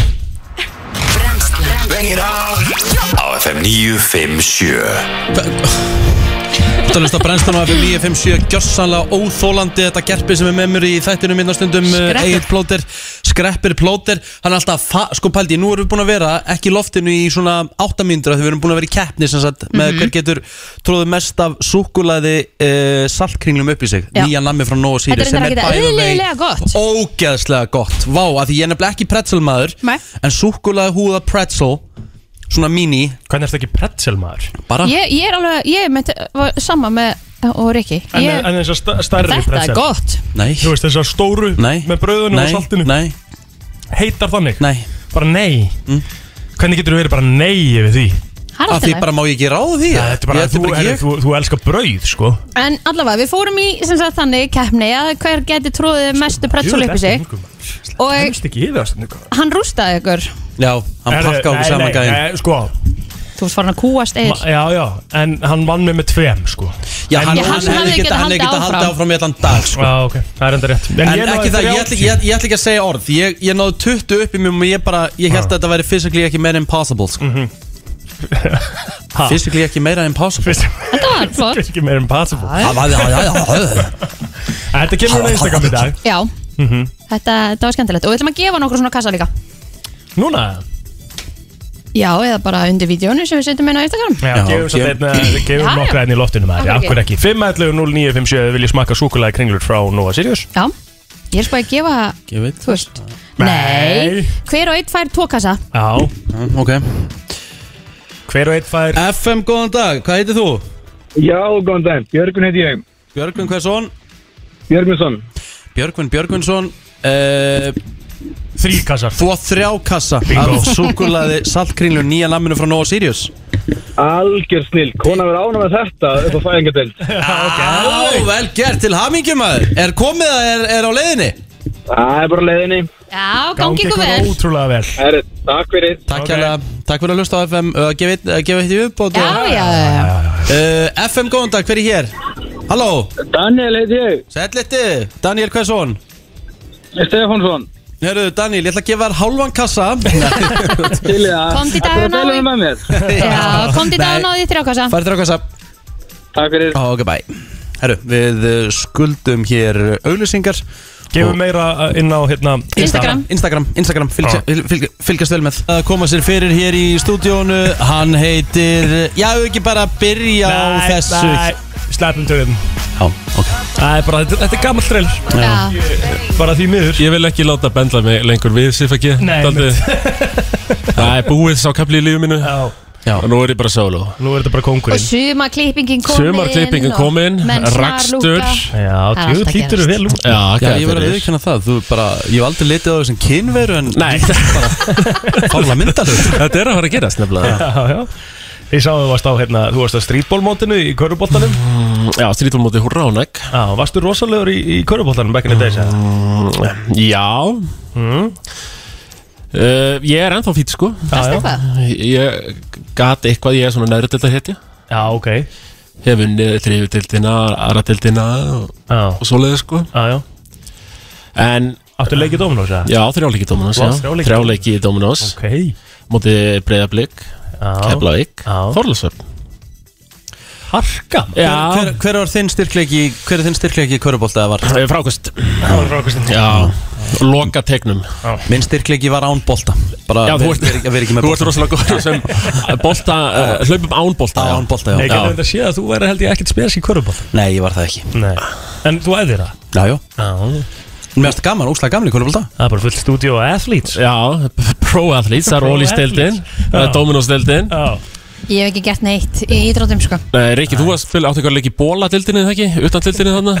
E: Á FM 957
A: Þetta lust að brennstun á FM 957 Gjörsanlega óþólandi þetta gerpi sem er með mér í hérna þættinu minnastundum
E: Skreppur.
A: Egil eh, plóter, skreppir plóter Hann er alltaf, fa- sko pældi, nú erum við búin að vera ekki í loftinu í svona áttamindra Þegar við erum búin að vera í keppni sem sagt Með
B: Mhm.
A: hver getur tróðu mest af súkulaði uh, saltkringlum upp í sig
B: Já.
A: Nýja nammi frá Nóa
B: Þetta
A: Sýri
B: er reyndar ekkert eðlilega gott
A: ógeðslega gott Vá, að því ég er nefnilega ekki pretzelmaður
B: Nei.
A: En súkulaði húða pretzel Svona mini
C: Hvernig ertu ekki pretzelmaður?
A: Bara
B: ég, ég er alveg, ég er með, var sama með eh, og Rikki
C: En,
B: ég,
C: en þessar sta- stærri
B: Þetta er
C: pretzel.
B: gott.
A: Nei
C: Þú veist þessar stóru
A: Nei
C: Með brauðinu
A: Nei.
C: og saltinu
A: Nei
C: Heitar þannig
A: Nei Mm.
C: Bara nei Hvernig getur þú verið bara nei yfir því?
B: Það er allt í Af því lagi. bara
A: má ég ekki ráða því
C: Það er bara,
A: Ég- þetta er
C: þú,
A: bara
C: herri,
A: ég.
C: þú, þú elskar brauð sko
B: En allavega, við fórum í sem sagt þannig keppni að hver geti tróðið mestu pretzel upp í sig og
C: Hemst ekki yfir það stundum
B: hann rústaði ykkur
A: Já, hann pakkaði okkur saman gæðinn.
C: Sko,
B: Þú ert farin að kúast eil
C: ma- já, já En hann vann mig með tveim sko
A: Já,
C: En
A: hann,
C: nú-
A: hann, hefði geta, hann hefði geta haldið áfram í allan dag sko.
C: Já, ok, það er enda rétt
A: En, ekki það, ég ætla, ég, ætla- ég ætla ekki að segja orð Ég, ég náðu 20 upp í mér og ég bara Ég held að þetta væri physically ekki meira impossible sko.
C: Mhm.
A: [LAUGHS] Physically ekki meira impossible
B: Þetta var flott
C: Ekki meira impossible
A: Já, já, já, já, já.
C: Þetta kemur á Instagram í dag
B: Já,
C: Mhm.
B: þetta, þetta var skemmtilegt og við ætlum að gefa nokkur svona kassa líka
C: Núna
B: Já, eða bara undir vídjónu sem við setjum inn á Instagram
C: Já, gefum svo þetta
B: Já,
C: gefum
B: já.
C: nokkra enn í loftinu maður,
B: Af
C: já,
B: hverju
C: hver ekki 5.11.09.57 vilja smakka súkulega kringlur frá Nova Sirius
B: Já Ég er spáði að gefa
A: Ég veit
B: Þú veist Nei Hver og einn fær tókassa
C: Já
A: Ok
C: Hver og einn fær
A: FM, góðan dag, hvað heitir þú?
N: Já, góðan dag, Björgun heiti ég
A: Björgvin, hvað er svon?
N: Björgvinsson
A: Björgvin Björgvinsson uh,
C: Þrý kassar
A: Þú á þrjá kassa
N: Bingo.
A: Af súkulaði saltkringlu nýja lamminu frá Nóa Sirius
N: Algjör snill, konan verið ána með þetta upp á
C: [LAUGHS]
N: fæðingadeild
A: Á, vel gert til hamingjumæður Er komið að er, er á leiðinni?
N: Það er bara leiðinni
B: Já, gangi ykkur vel
C: Ótrúlega vel
N: Herri, Takk fyrir
A: Takk, okay. takk fyrir að hlusta á FM uh, gefa eitt- uh, gefa eitt í upp og-
B: Já, já, já, já.
A: Uh, FM, góðan dag, hver er hér? Halló
N: Daniel heiti ég
A: Sælliti, Daniel, hvað er svon?
N: Stefánsson
A: Herru, Daniel, ég ætla að gefa þér halvan kassa
N: [LAUGHS]
A: Til
N: í það
B: Komdu í daginn,
N: Þetta er leiðinni með mér
B: Já, kom til dag og náði þrjá kassa
A: Farið þér á kassa
N: Takk fyrir
A: Ok, bye Herru, við uh, skuldum hér auglýsingar
C: Gefum meira uh, inn á hérna
A: Instagram Instagram, Instagram, fylgja, fylgja, fylgjast vel með Að koma sér fyrir hér í stúdíónu Hann heitir, já, við ekki bara byrja á
C: Nei,
A: þessu
C: nei, Sleppum tökum
A: Já, ok
C: Það er bara, þetta, þetta er gammal trill
B: Já.
C: Bara því miður
M: Ég vil ekki láta bendla mig lengur við Siffa G
C: Nei,
M: Dálítið- [LAUGHS] Það er búið sá kapli í lífi mínu
C: Já
M: Og nú er ég bara solo
C: Nú er þetta bara
B: Og
C: kongurinn
B: suma klippingin kom inn
M: Sumarklippingin
B: og
M: kom inn,
B: menn snarlúka.
M: rakstur
C: Já,
B: Það er djú, alltaf lítur þú gerst. vel út.
M: Já,
A: Já, ég var að viðkjanna það, þú bara, ég hef aldrei litið á þessum kynveru en Nei Fála
C: [LAUGHS]
A: myndalög
M: Þetta er að fara að gerast nefnilega
C: Já, já Ég sá að þú varst á, hérna, þú varst á strítbólmótinu í körubóltanum
A: Mm,
M: Já, strítbólmóti hurra á negg
C: Já, varstu rosalegur í, í körubóltanum back in the days eða?
M: Mm, Já uh, Ég er ennþá fýtt sko
C: Gastu já.
M: Ég gat eitthvað, ég er svona næru delta hétja
C: Já, ok
M: Hef unnið þriðu deltina, aðra deltina og, og svoleiði sko
C: Já, já
M: En
C: Áttu leik í Dominos eða?
M: Já, þrjáleiki Dominos,
C: Þú
M: já
C: varst þrjáleiki í
M: Þrjáleiki Dominos
C: Ok
M: Móti breyðablík Keflavík Þorlásöfn
C: Harka
A: hver, hver, hver var þinn styrkleiki, hver er þinn styrkleiki í körubólta eða var?
M: Frákust
C: Frákust
M: Já, loka tegnum
A: Minn styrkleiki var án bólta Bara
M: Já, þú
A: ver-
M: ert,
A: ver- ver- ver- ekki með
M: þú ert
A: bolta.
M: rosalega góður sem bolta, uh, hlaupum án bolta
A: Án bolta, já.
C: Nei, getur þetta séð að þú væri held ég ekkert spes í körubóltan
A: Nei, ég var það ekki
C: Nei En þú æðir það?
A: Já, já
C: Já
A: Mér finnst gaman, óslega gaman í körubólta
C: Það er bara fullt stúdíu og athletes
M: Já, pro-athletes, það er uh, Ólís-deildin
C: Já.
M: Dominos-deildin
B: Ég hef ekki gert neitt í ídrótum sko
M: Nei, Riki, þú varst spil, áttu eitthvað að leika í bóla-deildinni, eða ekki? Utan deildinni þarna?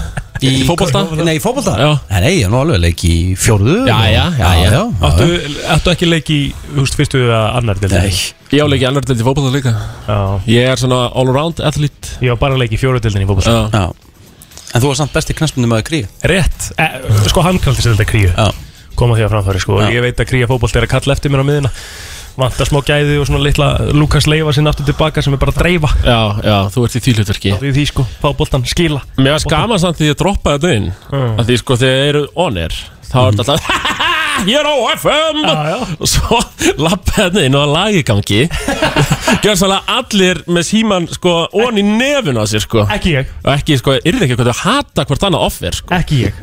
M: Í, í fótbolta?
A: Nei, í fótbolta?
M: Já
A: Nei, nei, ég er nú alveg leik í fjórðu
M: Já, já, já, já.
C: Áttu, áttu ekki leik í, þú veist, fyrstu eða annar deildin?
M: Ég á leikið annar deild í fótbolta líka
C: Já
M: Ég er svona all-around athlete
C: Ég á bara leik í fjóruðildin í fótbolta
M: Já,
A: En þú var samt besti knastmyndum að kríu
C: Rétt, e, sko hann kallir sér þetta kríu
A: Já.
C: Koma því að framfæri sko
A: Já.
C: Ég veit að kríu fótbolt er að kalla eftir mér á miðina Vanta smá gæði og svona litla Lukas Leiva sinna aftur tilbaka sem er bara að dreifa
M: já, já þú ert í því hlutverki
C: Því því sko, fótboltan skila
M: Mér varst gaman samt því að droppa þetta inn
C: Mm.
M: að Því sko þegar þeir eru on air Þá er þetta alltaf [LAUGHS] Ég er á FM Og svo lappa þetta inn og lagi í
C: [LAUGHS]
M: gangi Gjör svolítið allir með síman sko on í nefinu að sér sko
C: Ekki ég
M: Og ekki sko, yrði ekki eitthvað að hata hvort annað offer sko
C: Ekki
M: [LAUGHS]
C: ég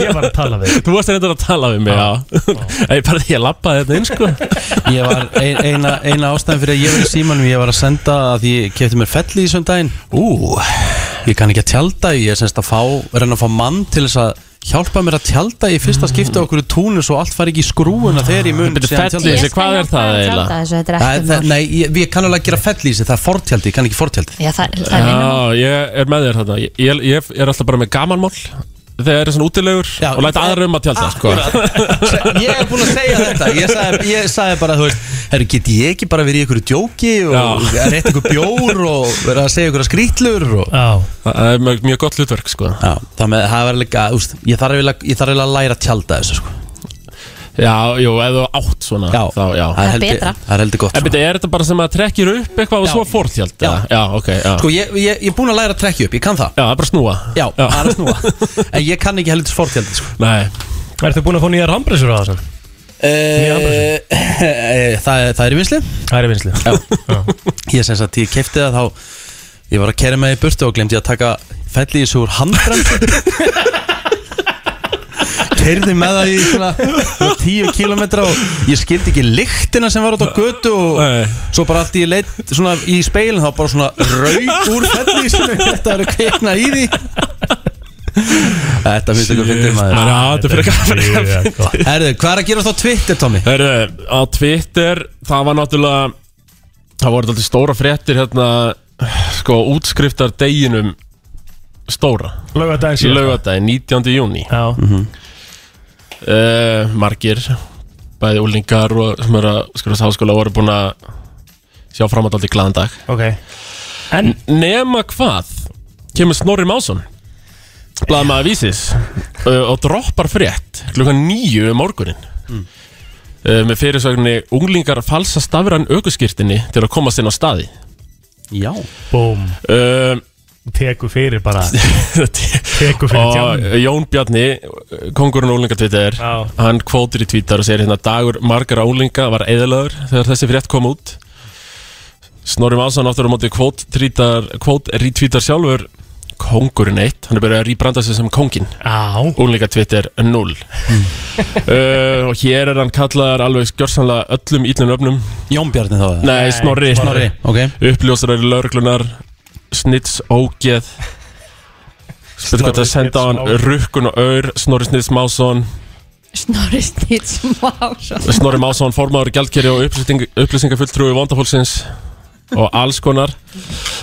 C: Ég var að tala við
M: Þú varst reyndar að tala við mig, já [LAUGHS] Það er bara því að lappa þetta inn sko
A: [LAUGHS] Ég var ein, eina, eina ástæðan fyrir að ég var í símanum Ég var að senda að ég kefti mér felli í söndaginn Ú, ég kann ekki að tjálta Ég er semst að fá, reyna að fá mann til þess að Hjálpa mér að tjálta í fyrsta
M: Mm.
A: skipta okkur í túnu Svo allt fari ekki í skrúuna þegar ég mun
M: Bíddu,
A: síðan tjalda.
M: fellihýsi, hvað er það
B: að
M: eiginlega?
B: tjalda þessu, þetta er
A: Það
B: ekki um
A: er- það- Nei, ég, ég kann alveg að gera fell í þessi Það er fortjaldi, ég kann ekki fortjaldi
B: Já, það, það er vinnum
M: Já, ég er með þér þarna Ég, ég, ég er alltaf bara með gamanmál Þegar er svona útilegur og læta aðra um að tjálta sko.
A: Ég hef búin að segja þetta Ég sagði, ég sagði bara, þú veist Herru, get ég ekki bara verið í einhverju djóki og
M: Já.
A: rétt einhver bjór og verið að segja einhverja skrítlur og...
C: Já
M: Það er mjög, mjög gott hlutverk sko.
A: Já, það með, það verður líka, úst, ég þarf eiginlega- ég þarf eiginlega að læra að tjálta þessu sko
M: Já, jú, ef þú átt svona
A: Já,
M: þá, já.
A: það er heldur- betra. það er heldur gott sko.
M: En byrja, er þetta bara sem að trekkir upp eitthvað og svo fórtjald? Já, já, ok, já
A: Sko, ég, ég, ég er búin að læra að trekja upp, ég kann það
M: Já, það er bara snúa
A: Já, það er að snúa En ég kann ekki heldur fortjaldi sko
M: Nei
C: Ertu búin að fá nýjar handbremsur á það sem?
A: Eh, eh, Það er- það er í vinsli
C: Það er í vinslu
A: Ég sem sagt, ég kefti það þá Ég var að kæra með í burtu og glemdi að taka felli í þessu úr handbremsu Keirði með það í svona svona 10 kilometra og ég skildi ekki lyktina sem var út á götu og svo bara allt í leitt svona í speilin þá bara svona rauk úr felli sem þetta verið kvikna í því Þetta finnst eitthvað fyrir maður
M: Já, þetta er fyrir
A: Mjög gott. Herðu, hvað er að gera þá Twitter, Tommy?
M: Herðu, á Twitter, það var náttúrulega Það voru alltaf stóra fréttir hérna Sko, útskriftar deginum Stóra
C: Laugardaginn síðasta.
M: Laugardaginn, 19. júni Já
A: Mhm.
M: Eh, Margir Bæði úlingar og sem eru að skrifast háskóla voru búin að sjá fram að alltaf glæðan dag
C: Ok
M: En nema hvað kemur Snorri Másson Blaðmaður vísis uh, og droppar frétt klukkan nýju um morgunin
C: Mm.
M: uh, með fyrirsögninni unglingar falsa stafran aukuskirtinni til að komast inn á staði
A: Já
C: Búm
M: um,
C: Teku
M: [LAUGHS]
C: fyrir bara
M: Teku
C: fyrir tjánum.
M: Jón Bjarni, kongurinn úlingatvítar hann kvótir í tvítar og segir hérna dagur margar úlinga var eðalöður þegar þessi frétt kom út Snorri Másson áttur á móti kvótrítar kvótrítvítar sjálfur kongurinn eitt, hann er byrjað að rýbranda sig sem kongin úlinga Twitter
C: [LAUGHS]
M: 0 uh, og hér er hann kallaðar alveg skjörsanlega öllum ílnum öfnum
A: Jón Bjarni þá eða?
M: Nei,
A: Nei,
M: Snorri,
A: Snorri, ok.
M: Uppljósarari lauruglunar Snitts ógeð Spurðu hvað það
C: Snorri
M: senda á hann
C: Snitts, Másson.
M: Rukkun og Aur, Snorri Snitts Másson
B: Snorri snýtt smá
M: Snorri Másson, formáður gjaldkerri og upplýsting, upplýsingafulltrúi vandafólksins og alls konar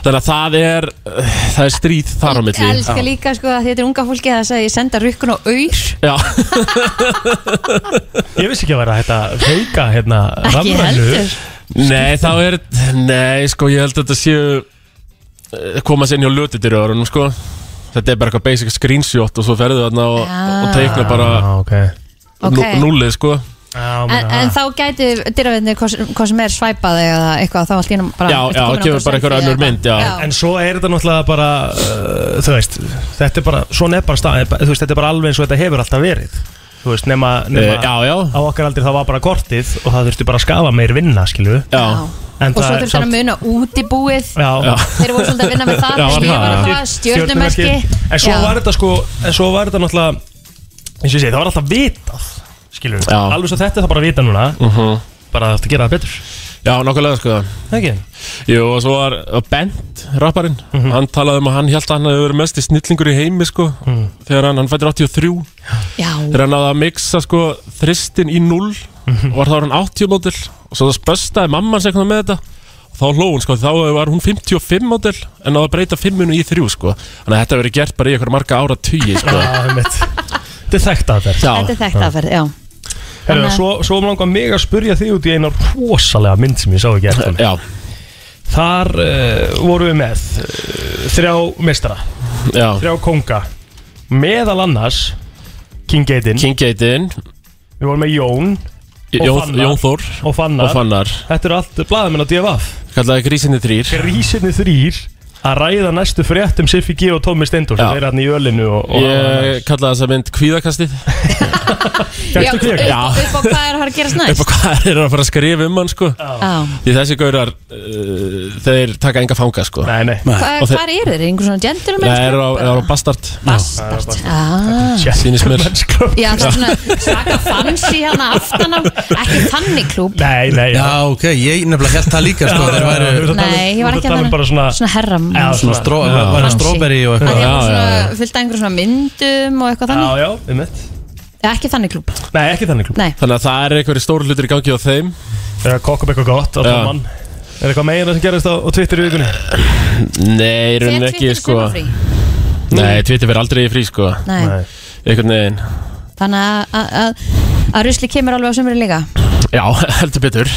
M: þannig að það er eh, það er stríð þar á
B: Ég
M: milli
B: elska líka sko að þetta er unga fólki það sagði ég senda rukkun og auður
M: [LAUGHS]
C: Ég vissi ekki að vera þetta Hauka hérna
B: Ekki
C: rafrænu.
B: heldur.
M: Nei, þá er Nei, sko, ég held að þetta séu eh, koma sér inn hjá lötitiröðurunum, sko Þetta er bara eitthvað basic screenshot og svo ferðu þarna og, og teikna bara
C: okay.
B: Ok.
M: núlið, sko
B: en, en þá gæti dyravinnir hvað sem- hvað sem er svæpað eða eitthvað þá allt í hennum bara
M: Já,
B: ertu komin
M: já,
B: á
M: kemur bara
B: selfie
M: einhver
B: eða
M: önnur
B: eitthvað.
M: mynd, já
C: En svo er þetta náttúrulega bara uh, Þú veist Þetta er bara Svona er bara stað Þú veist, þetta er bara alveg eins og þetta hefur alltaf verið Þú veist, nema, nema
M: Eh, já, já.
C: Á okkar aldrei það var bara kortið Og það þurfti bara að skafa meir vinna, skilju
M: Já
C: En
B: og svo
C: það er
B: þurfti hann að muna útibúið
C: Já. Já.
B: þeir voru svolítið að vinna með það
C: Já,
B: en ég
C: var
B: var
C: það.
B: það stjörnumerki
C: En svo var þetta sko En svo var þetta náttúrulega eins og ég segi, það var alltaf vitað Skilur við, alveg svo þetta er það bara að vita núna Bara að þetta gera það betur
M: Mhm. Já, nokkulega, sko
C: Ekki?
M: Jú, og svo var og Bent, rapparinn
C: Mhm.
M: Hann talaði um að hann held að hann hefði verið mest í snillingur í heimi, sko
C: Mhm.
M: Þegar hann, hann fættir 83
B: Já.
M: [LAUGHS] Þegar hann náði að mixa, sko, þristin í 0 Og var þá hann 80 mótil Og svo það spöstaði mamma hans eitthvað með þetta Og þá hló hún, sko, þá var hún 55 mótil En náði að breyta 5 í 3, sko Þannig að þetta hefur verið gert bara í eitthvað marga ára tugi, sko
C: Já, einmitt. [LAUGHS] Þetta er þekkt aðferð
B: þetta er þekkt aðferð, já
C: Herra, svo, svo langar mig að spurja þig út í einar rosalega mynd sem ég sá ekki eftir
M: Já.
C: Þar uh, vorum við með uh, þrjá mestara
M: Já.
C: Þrjá konga Meðal annars King Gaten
M: King Gaten
C: Við vorum með Jón og
M: Jón-
C: Fannar
M: Jón Þór
C: og Fannar.
M: og Fannar.
C: Þetta eru allt blaðamenn á DFF
M: Kallaði grísinni þrýr
C: Grísinni þrýr Að ræða næstu fréttum Siffi G og Tómi Steindor sem er hann hérna í ölinu og, og
M: Ég kallaði þessa mynd kvíðakastið
B: Já, upp, upp á hvað er að fara að gerast
M: upp
B: næst
M: á hvað þeir eru að fara að skrifa um hann sko
B: Já.
M: Því þessi gaurar uh, þeir taka enga fanga sko
C: Nei, nei
B: Hvað- hvar eru þeir, einhver svona
M: Nei,
B: gentleman
M: þeir eru á, eru á Bastard
B: Bastard Ah.
M: Sýnist mér
B: Já, það er svona svaka fancy hérna aftan á, ekki þannig klúb
C: Nei, nei
A: Já, ok, ég nefnilega held það líka sko Þeir væru
B: Nei, ég var ekki að
C: um
B: um-
C: bara svona
B: Svona herra
A: Svona stró, væru stróberi og
B: Það
A: eitthvað
B: er svona fyllt að einhverjum svona myndum og eitthvað þannig
C: já, um mitt
B: Ekki þannig klúb
C: Nei, ekki þannig klub
B: Nei.
M: Þannig að það er einhverju stóru hlutir í gangi á þeim
C: Þeir eru að kokka upp eitthvað gott á
M: Já.
C: tóman Er eitthvað meira sem gerist á, á Twitter í vikunni?
M: Nei, í rauninni ekki sko Nei, Twitter verður aldrei í frí sko
B: Nei. Nei.
M: Einhvern veginn
B: Þannig að- að- að- að rusli kemur alveg á sömurinn líka
M: Já, [LAUGHS] heldur betur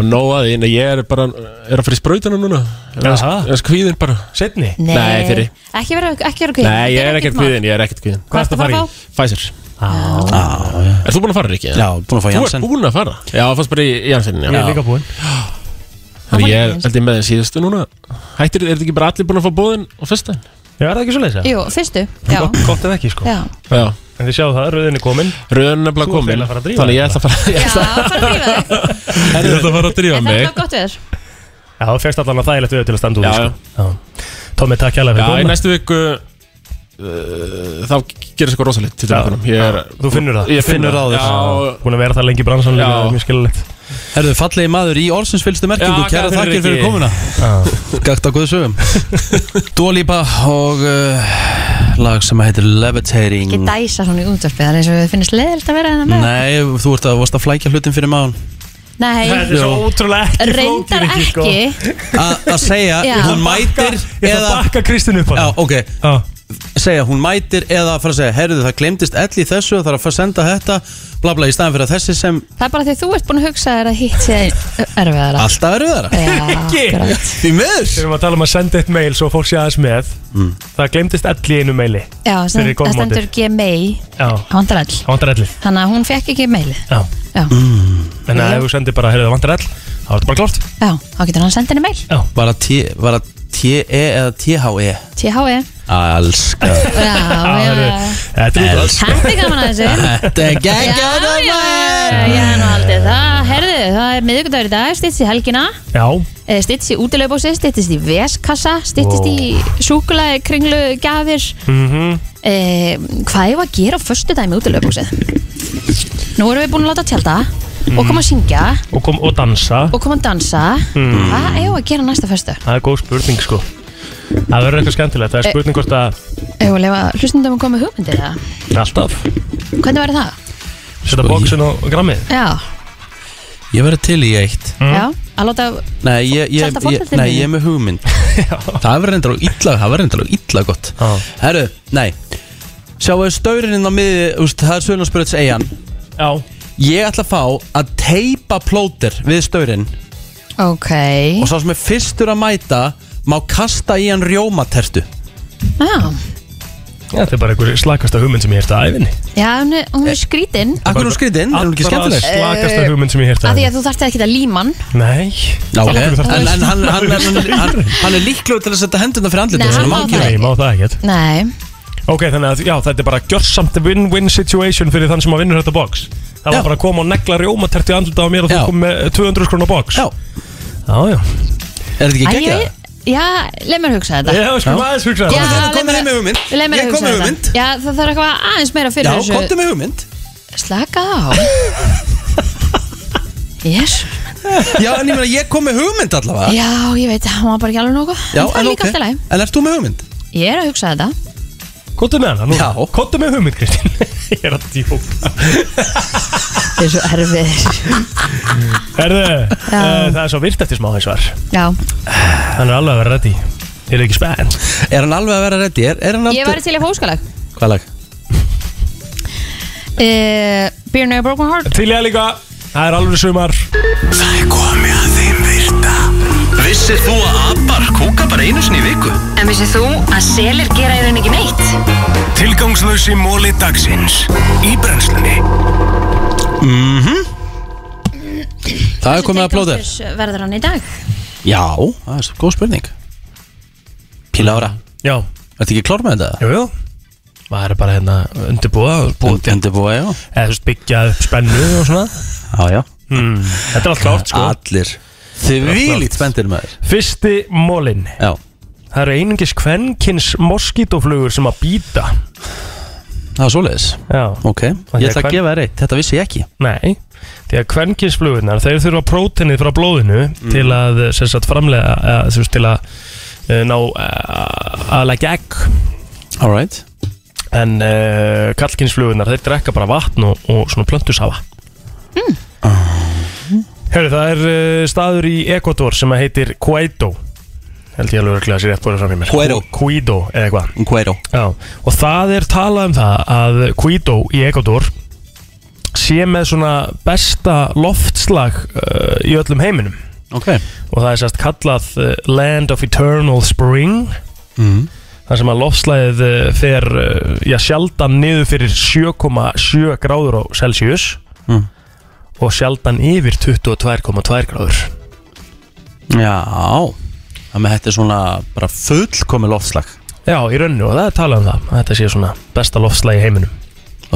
M: Og nóaði, en ég er bara Er að fara í sprautina núna Er að-
C: Jaha.
M: er að skvíðin bara
C: Setni?
M: Nei, fyrir
B: Ekki vera, ekki vera kvíðin
M: Nei, ég er ekkert kvíðin, ég er ekkert kvíðin
B: Hvað ertu að fara að
M: Pfizer Er þú búin að fara, Ríkki?
A: Já, búin að fá Janssen.
M: Þú ert búin að fara? Já, það fannst bara í Janssen
C: Ég er líka búinn
M: Þannig ég held ég með þeim síðustu núna Hættir, er þetta ekki bara allir búin að fá bóðin og fyrsta?
C: Já, er það ekki svo leiðis?
B: Jú, fyrstu, já
C: Gott ef ekki sko
B: Já,
M: Já
C: En þið sjáu það, röðin er komin
M: Röðin er bara
C: komin Þú ert eiginlega að fara að drífa
M: Þannig ég ætla að fara
B: já fara að drífa þig
M: Ég ætla að fara að drífa
B: En það er
M: mig
B: bara gott veður
C: Já, þú fegst allan að þægilegt við til að standa úr
M: Já,
C: því, sko. já. Tómi, takk hérlega
M: Já,
C: fyrir
M: í
C: komuna
M: næstu viku uh, Þá gerist eitthvað rosalegt til dæmis. Ég er-
C: Þú finnur það
M: Ég finn það
C: Búin að vera það lengi í bransan
M: Já.
C: líka, mjög skilulegt
A: Herðu, fallegi maður í orðsins fylgstu
M: Já,
A: merkingu Kæra
M: gæti
A: þakkir
M: verið
A: fyrir
M: ekki.
A: komuna Gagt á
C: [LAUGHS]
A: Guðsögum Dólípa og uh, lag sem heitir Levitating
B: Ekki dæsa svona í útvarpið, það er eins og við finnst leðilt að vera hérna með
A: Nei, þú ert að, varst að flækja hlutin fyrir maður
B: Nei,
A: Þetta er svo Jú.
C: ótrúlega
B: Reyndar
A: flókið, sko.
B: ekki
A: Að segja,
B: Já.
A: hún mætir
C: Ég ætla að bakka Kristin upp
A: Já, ok Segja, hún mætir eða fara að segja Herðu, það glemdist ell í þessu Það er að fara að senda þetta Bla bla, í staðan fyrir að þessi sem
B: Það er bara því að þú ert búin að hugsa þér að hitt sé erfiðara
A: Alltaf erfiðara
B: Já, akkurat.
A: Því miður
C: Við erum að tala um að senda eitt mail svo fólk sé aðeins með
M: Mm.
C: Það glemdist ell í einu maili
B: Já, sem-
C: Fyrir
B: það stendur
C: góðmótið
B: Gmail
C: Já,
B: Það vantar all
C: það vantar ellið
B: Þannig að hún fekk ekki mailið
C: Já
B: Já.
C: En að ef þú sendir bara, heyrðu það vantar ell Það var þetta bara klart
B: Já, þá getur hann sendið henni mail
C: Já
A: Var það T- var það T-E eða E? T-H-E
B: THE
A: Elskar
B: Já, E. já, já
C: Þetta
A: er
B: Þetta er gaman að þessu
A: Þetta er geggjað
B: Já, já, já, ég hef nú aldrei það Herðu, það er miðvikudagur í dag, stýttist í helgina
C: Já
B: Eh, Styttist í útilegbósi, styttist í veskassa Styttist í súkulaði, kringlu, gafir
C: Mhm.
B: eh, Hvað er að gera á förstu dag með útilegbósið? Nú erum við búin að láta tjálta Og
C: Mm.
B: koma að syngja
C: Og kom og dansa
B: Og Ah, koma að dansa
C: Mm.
B: Hvað er að gera næsta förstu?
C: Það er góð spurning sko Það verður eitthvað skemmtilegt Það er
B: Eh.
C: spurning hvort að
B: Eða lefa hlustundum að koma með hugmyndir það
C: Alltaf
B: Hvernig verður það?
C: Setta bóksin og grammið
B: Já,
A: Sko, Ég verður til í eitt
C: Mm.
B: já, að láta
A: Nei, ég, ég,
B: Salta
A: ég,
B: fótboltinn
A: nei,
B: þínum?
A: ég er með
C: [LAUGHS]
A: hugmynd Það verður reyndar á illa Það verður reyndar á illa gott Herru, nei Sjáu staurinn á miði úst, Það er Sölunarspyröts eigan
C: Já
A: Ég ætla að fá að teipa plóter við staurinn
B: Ok
A: Og sá sem er fyrstur að mæta Má kasta í hann rjómatertu
B: Já,
C: Þetta er bara einhver slakasta hugmynd sem ég hérta æfinni
B: já hún, er, hún er skrítin
A: Akkur hún skrýtin, er hún ekki skemmtileg?
C: Slakasta
B: Eh,
C: hugmynd sem ég um. hérta
B: Af því að þú þarft ekki að líma hann
C: Nei
A: Já, ok. En, en
C: um
A: hann, hann, hann,
C: [LAUGHS]
A: hann, hann er líklegur til að setja hendurna fyrir andlitið
B: Nei,
A: á sér,
B: hann má það
A: ekki.
C: Nei, má það ekkert
B: Nei,
C: Ok, þannig að já, þetta er bara gjörsamt win-win situation fyrir þann sem að vinnur þetta box Það var bara að koma og negla rjómaterti andluta á mér og þú kom með 200 skrona box
A: Já
C: Já, já
A: Er þetta
B: Æ, ég- Já, leið mér hugsa þetta
C: Já, við skulum Já. aðeins hugsa þetta.
B: Já,
C: Komdu-
B: leið
A: komdu
B: mér-
A: heim með hugmynd.
B: leið mér að
A: Ég kom
B: hugsa
A: með
B: þetta.
A: hugmynd.
B: Já, það þarf eitthvað aðeins meira fyrir
A: Já,
B: þessu
A: komdu með hugmynd
B: Slaka á
A: [LAUGHS]
B: Yes
A: Já, en ég meina, ég kom með hugmynd allavega
B: Já, ég veit, hann var bara ekki alveg nokkuð
A: Já,
B: það er
A: en
B: líka
A: ok.
B: alltaf læg
A: En ert þú með hugmynd?
B: Ég er að hugsa þetta
C: Kottu með hana núna Kottu með hugmynd, Kristín [LAUGHS] Ég er að djóka
B: Þetta er svo erfið
C: Herðu, uh,
B: Já.
C: það er svo virt eftir smá þess var
B: Já,
C: Hann er alveg að vera ready Ég er ekki spennt
A: Er hann alveg að vera ready? Er, er hann
B: ég væri til í fóskalag
A: Hvað lag?
B: uh, Beer Never Broken Heart
C: Til ég líka Það er alveg sumar
E: Það er komið að þeim virta Vissir þú að abar kúka bara einu sinni í viku?
D: En vissið þú að selir gera í raun ekki neitt?
E: Tilgangslösi móli dagsins Í brennslunni
A: Mhm Það er komið að plóter
B: Verður hann í dag?
A: Já, það er svo góð spurning Píla ára
C: Já
A: Ertu ekki klár með þetta?
C: Jú, jú Maður er bara hérna undirbúa Búið
A: Undirbúa, já
C: Eða þú veist byggja upp spennu og svona
A: Já, já
C: mm. Þetta er allt klárt sko
A: Allir Þið vilít spendir maður
C: Fyrsti mólin
A: Já
C: Það eru einungis kvenkins moskítoflugur sem að býta
A: Það er svoleiðis
C: Já
A: Ok, ég ætla að gefa þér eitt, þetta vissi ég ekki
C: Nei, því að kvenkinsflugurnar þeir þurfa próteinið frá blóðinu til
A: Mm.
C: að sem sagt, framlega að, þú veist, til að uh, ná uh, að leggja egg
A: Alright
C: En uh, kallkinsflugurnar þeir drekka bara vatn og, og svona plöntusafa
A: Mm.
C: Hörru, það er uh, staður í Ecuador sem að heitir Cueto Held ég alveg örglega að sér rétt búið fram í mér
A: Cuero.
C: Cuido eða eitthvað
A: Cuero
C: Já, og það er talað um það að Cuido í Ecuador sé með svona besta loftslag uh, í öllum heiminum
A: Ok
C: Og það er sérst kallað uh, Land of Eternal Spring
A: mm.
C: þar sem að loftslagið uh, fer uh, já, sjaldan niður fyrir 7,7 gráður á Celsius
A: Mm.
C: og sjaldan yfir 22,2 gráður
A: Já Það með þetta er svona bara fullkomi loftslag
C: Já, í rauninu og það er talað um það að þetta sé svona besta loftslagi í heiminum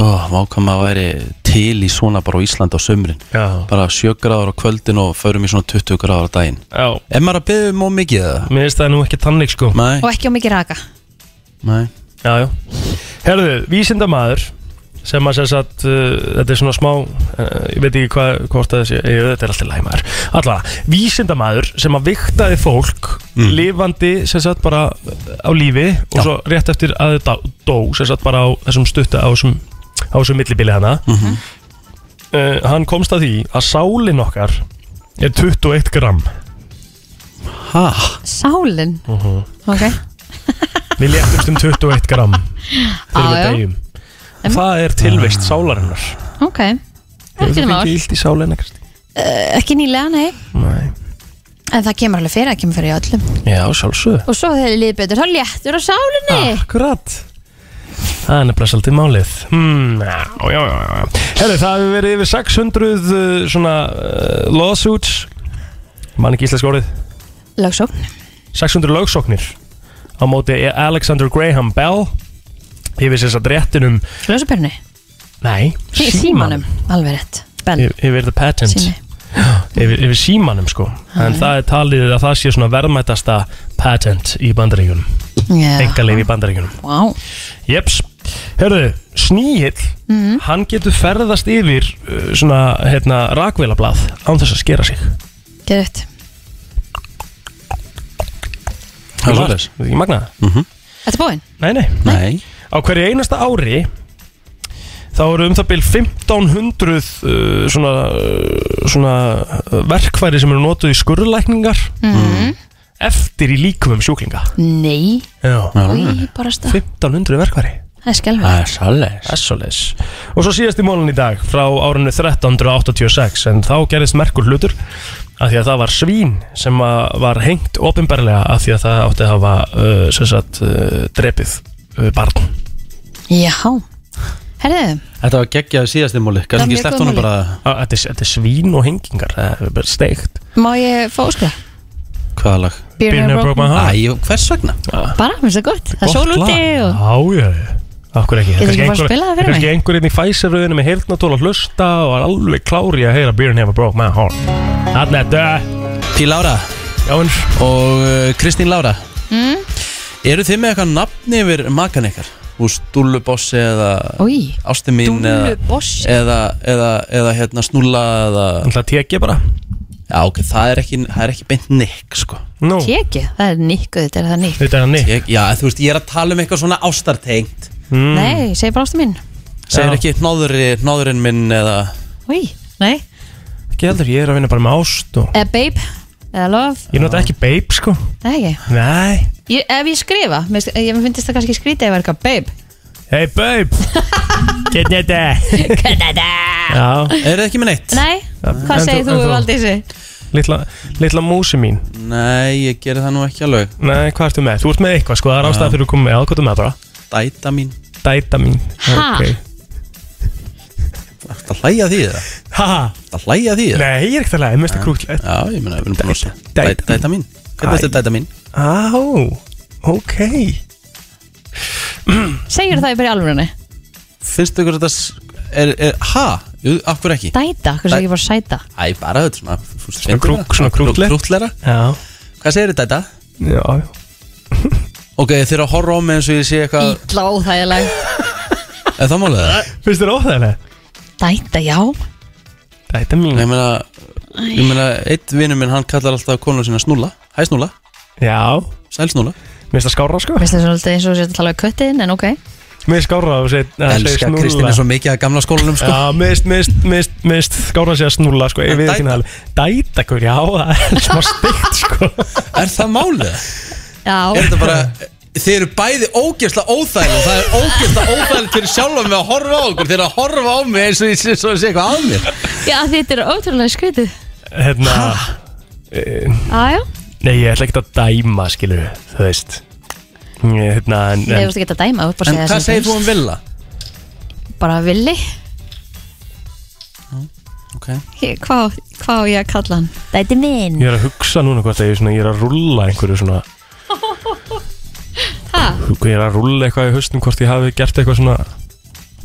A: Ó, vákama að væri til í svona bara á Íslandi á sömrin
C: Já.
A: Bara 7 gráður á kvöldin og förum í svona 20 gráður á daginn
C: Já
A: Er maður að byggja um of mikið það?
C: Mér finnst það nú ekki tannig sko
A: Nei,
B: Og ekki á mikið raka
A: nei
C: Já, já Herðu, vísindamaður sem að sem sagt, uh, þetta er svona smá uh, ég veit ekki hvað, hvort það sé ég, þetta er alltaf læmaður, alltaf vísindamaður sem að viktaði fólk
A: Mm.
C: lifandi, sem sagt, bara á lífi og svo rétt eftir að þetta dó, sem sagt, bara á þessum stutta á þessum, á þessum millibili hana
A: Mhm.
C: uh, hann komst að því að sálin okkar er 21 gram
A: ha?
B: Sálin
C: Uh
B: Ok
C: Við léttumst um 21 gram þegar
B: Á,
C: við
B: já.
C: degjum Og Það er tilvist sálarinnar
B: Ok
C: Ah. Hefur
B: Ekki
C: þú
B: mál
C: fengið illt í sálinna, Kristi?
B: Eh, Ekki nýlega, nei
C: Nei
B: En það kemur alveg fyrir, það kemur fyrir í öllum
C: Já, sjálfsögðu
B: Og svo þegar þið líður betur, þá léttur á sálinni
C: Akkurat Það er nefnilega svolítið málið hmm, Já, já, já, já Herri, það hefur verið yfir 600 uh, svona uh, lawsuits Man ekki íslensk orðið
B: Lögsókn
C: 600 lögsóknir á móti E- Alexander Graham Bell yfir sér satt réttinum
B: Ljósabjörni?
C: Nei,
B: Í Símanum, alveg rétt Ben
C: Yfir- yfir the patent
B: Sími.
C: Já, yfir, yfir símanum sko en það er talið að það sé svona verðmætasta patent í bandaríkunum
B: Já.
C: engalegi í bandaríkunum
B: wow.
C: jeps, herðu, sníhill hann getur ferðast yfir uh, svona hérna rakvélablað án þess að skera sig
B: Geðvitt
A: Það er svoleiðis. Mhm.
C: Þetta er ekki magnaða
B: Þetta búinn?
C: Nei, nei.
A: nei
C: Á hverju einasta ári þá eru um það byrj 1500 uh, svona, uh, svona uh, verkfæri sem eru notuð í skurðlækningar
B: Mhm.
C: eftir í líkumum sjúklinga
B: Nei
C: Já.
B: Í barasta
C: 1500 verkfæri
B: Það er skelvægt
A: er svolítið
C: Það er svolítið Og svo síðast í mólun í dag frá árinu 1386 en þá gerðist merkur hlutur af því að það var svín sem að var hengt ofinberlega af því að það átti að hafa uh, sem sagt uh, drepið uh, barn
B: Já Herðu,
A: Þetta var geggjaði síðast í múli
B: Það er
A: Gæti ekki
B: mjög
A: sleppt
B: góð
A: honum
B: múli.
A: bara
C: Á, Þetta er, þetta er svín og hengingar Það er bara steikt
B: má ég fá óskla?
A: Hvaða lag?
B: Beer Beer Never Never Broke Broke My My Heart. Heart.
A: Æ, og hvers vegna?
B: Bara, finnst það gott Það er
C: Gott
B: sól úti
C: lag.
B: og
C: Já, já, já Akkur ekki
B: Getur
C: Kannski
B: ekki bara
C: einhver-
B: spilað það fyrir
C: kannski
B: mig?
C: einhver einn í Pfizer-röðinu með heyrnatól að hlusta og er alveg klári að heyra Beer Never Broke My Heart Þarna eh? er döð
A: Pí Lára
C: Jón
A: Og uh, Kristín Lára
B: mm.
A: Eru þið með eitthvað nafn yfir makan ykkar? Úr Stúllubossi eða
B: Új,
A: Ásti mín eða,
B: Dúllubossi.
A: eða, eða, eða hérna Snúlla eða
C: Það tekja bara
A: Já, ok, það er ekki, það er ekki beint nikk sko
C: no.
B: tekið Það er nikkuð, þetta er það nikk
C: Þetta er nikk
A: Já, þú veist, ég er að tala um eitthvað svona ástartengt
C: Mm.
B: Nei, segi bara ástu mín
A: Segir ekki hnóðri, hnóðurinn minn eða
B: Új, nei
C: Ekki heldur, ég er að vinna bara með ást og
B: Eða babe, eða love
C: Ég nota ekki babe, sko
B: Nei, ekki
C: Nei
B: ég, Ef ég skrifa, mér sk- ég finnst það kannski skrítið ef það er eitthvað babe
C: Hey babe Hvernig þetta?
B: Hvernig þetta?
C: Já
A: Er það ekki með
B: [LAUGHS]
A: neitt?
B: Nei, hvað
C: En
B: segir
C: en
B: þú, Valdísi?
C: Litla, litla músi mín
A: Nei, ég gerir það nú ekki alveg
C: Nei, hvað ertu með? Þú ert með eitthvað, sko, það er
A: Já.
C: ástæða fyrir að koma með Já, hvað ertu með bara?
A: Dæta mín
C: Dæta mín
A: Ha?
C: ok.
A: Ertu að hlæja að því það?
C: Ha?
A: Ertu að hlæja að því það?
C: Nei, ég er ekkert að leiða, mér finnst það krútlegt
A: Já, ég meina, við erum búin að segja Dæ- Dæta mín Hvernig veist þetta dæta mín?
C: Á, ok
B: Segir það bara í alvörunni?
A: Finnst ykkur þetta s- er, er, ha? Jú, af hverju ekki?
B: Dæta, hversu ekki bara sæta?
A: Æ, bara þetta svona fú-
C: Svona krúk-
A: fyndið,
C: svona krútlegt.
A: Krútlera
C: Já
A: Hvað segir þetta dæta?
C: Já, já
A: Ok, þeir eru að horfa á mig eins og ég sé eitthvað
B: Ítla óþægileg
A: Er það málið það?
C: Finnst þér óþægilega?
B: Dæta, já
C: Dæta mín
A: Ég meina, ég meina, eitt vinnur minn, hann kallar alltaf konu sína snúlla Hæ snúlla
C: Já
A: Sæl snúlla
C: Mér finnst það skára, sko
B: Mér finnst það svolítið eins og þú sér að tala um köttin, en ok
C: Mér finnst skára og segir
A: Elskar Kristín er svo mikið að gamla skólanum sko
C: Já, mist, mist, mist, mist Skára sig að snúla, sko Ég við ekki
A: dæta?
C: alveg Dæta, hver, já, það er smá steikt, sko
A: Er það málið það?
B: Já,
A: Er þetta bara Þið eru bæði ógeðslega óþægileg og Það er ógeðslega óþægileg fyrir sjálfa mig að horfa á okkur Þið eru að horfa á mig eins og ég sé, svo ég sé eitthvað að mér
B: já þetta er ótrúlega skrítið
C: Hérna eh,
B: Æjá,
C: Nei, ég ætla ekki að dæma, skilur Þú veist Ég, Hérna, en,
B: ég veist ekki að dæma þú ert bara að
A: En
B: segja
A: hvað
B: sem
A: segir þú
B: finnst.
A: um Villa?
B: Bara villi
A: Ok
B: Ég- Hvað hva á ég að kalla hann? Dæti minn
C: Ég er að hugsa núna hvort að ég, er svona, ég er að rulla einhverju svona
B: Ha?
C: Ég er að rulla eitthvað í haustum hvort ég hafi gert eitthvað svona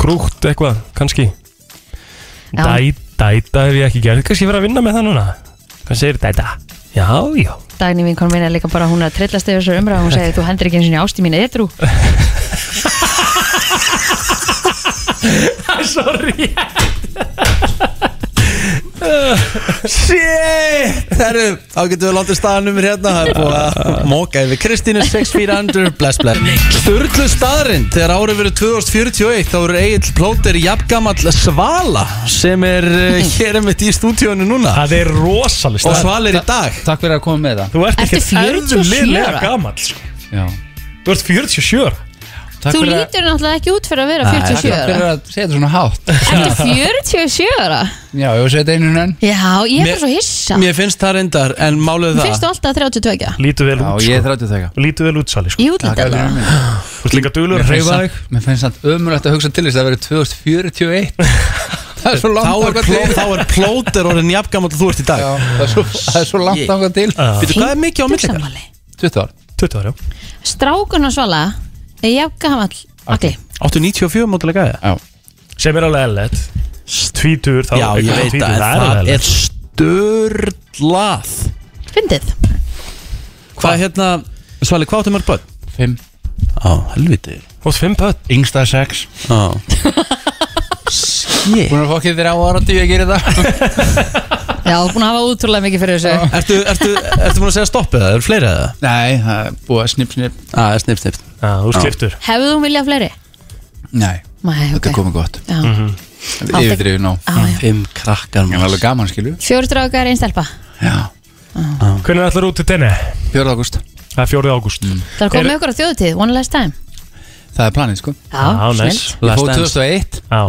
C: Krútt eitthvað, kannski
B: Já.
C: Dæ, Dæta hef ég ekki gert Kannski ég verið að vinna með það núna Hvað segir dæta? Já, já
B: Dagný vinkon minna líka bara hún er að trillast yfir
A: [LAUGHS]
B: þessu umræð og hún segir þú hendur ekki eins og ásti mín eða þrú
C: Sorry
A: Shit Herru, þá getum við látið staðan um hérna Það er búið að móka yfir Kristínu 6-400, bless bless Sturlu staðrind, þegar árið verið 2041 Þá eru Egil Plóter jafngamall Svala Sem er eh, hér einmitt í stúdíónu núna
C: Það er rosalist
A: Og Svalir í dag
O: Takk fyrir að koma með það
C: Þú ert
B: Ertu
C: ekkert
B: 47
C: eðlilega
B: ára?
C: gamall sko.
O: Já
C: Þú ert 47 ára
O: Takk
B: Þú
O: fyrir að-
B: lítur náttúrulega ekki út fyrir að vera
O: Nei,
B: 47
O: Takk fyrir
B: ára
O: að segja þetta svona hátt
B: Ertu 47 ára?
O: Já, ég var að segja þetta einu enn
B: Já, ég er
A: Mér-
B: bara svo hissa
A: Mér finnst það reyndar, en málið
B: Mér
A: það
B: finnst þú alltaf 32
C: Lítu vel
O: út Já, ég er 33
C: Lítu vel út sali sko.
B: Ég útlít
O: Takk fyrir
B: alveg
O: mig
C: Þú ert líka
O: Mér
C: duglur að
O: finnst
C: hreyfa
O: samt-
C: þig
O: Mér finnst það ömurlegt að hugsa til þess að það verið 2041 [LAUGHS] Það er svo langt
A: Þá er,
O: þangað
A: pló,
O: til.
A: þá er plóter orðin jafngamall og þú ert í dag
O: Það er svo- það er svo langt ákvað til
A: Býtu, hvað er mikið á milli ykkar?
O: 20 ára
C: 20 ára,
B: Strákun og Svala er jafngamall Agli
A: 894 mótilega
O: gæði
C: Sem er alveg eðlilegt Tvítur þá
A: Já, ég veit
C: eitthvað tvítugur,
A: að
C: alveg
A: það
C: eðlilegt.
A: er störlað
B: Fyndið
A: Hvað hérna, Svali, hvað áttu mörg börn?
O: Fimm
A: Á, helviti
C: Hvort fimm pött?
O: Yngsta sex
A: Á
O: Búin að fá ekki þér á ára tíu að gera þetta
B: Já, búin að hafa útrúlega mikið fyrir þessu
A: Ertu, ertu, ertu múin að segja stopp eða? Er fleiri eða?
O: Nei, það er búið að snipp snipp
A: Já, það er snipp snipp
C: Já, þú
A: [LAUGHS]
C: skiptur
B: Hefðu þú viljað fleiri?
O: Nei,
B: Nei, ok
O: þetta er komið gott
B: Já.
C: Mhm.
O: Þetta er yfirdrifin á
A: Fimm krakkar
O: Það er alveg gaman skilju
B: Fjóri strákar, einn stelpa
C: Hvernig ætlar út til tenni?
O: 4. ágúst Mm.
C: Það er 4. ágúst
B: Það er komið með okkur á þjóðutíð, one last time
O: Það er planið sko
B: Já, Já, nice. snillt.
O: Ég
B: Last
O: fóð
B: dance.
O: 2001
C: Já.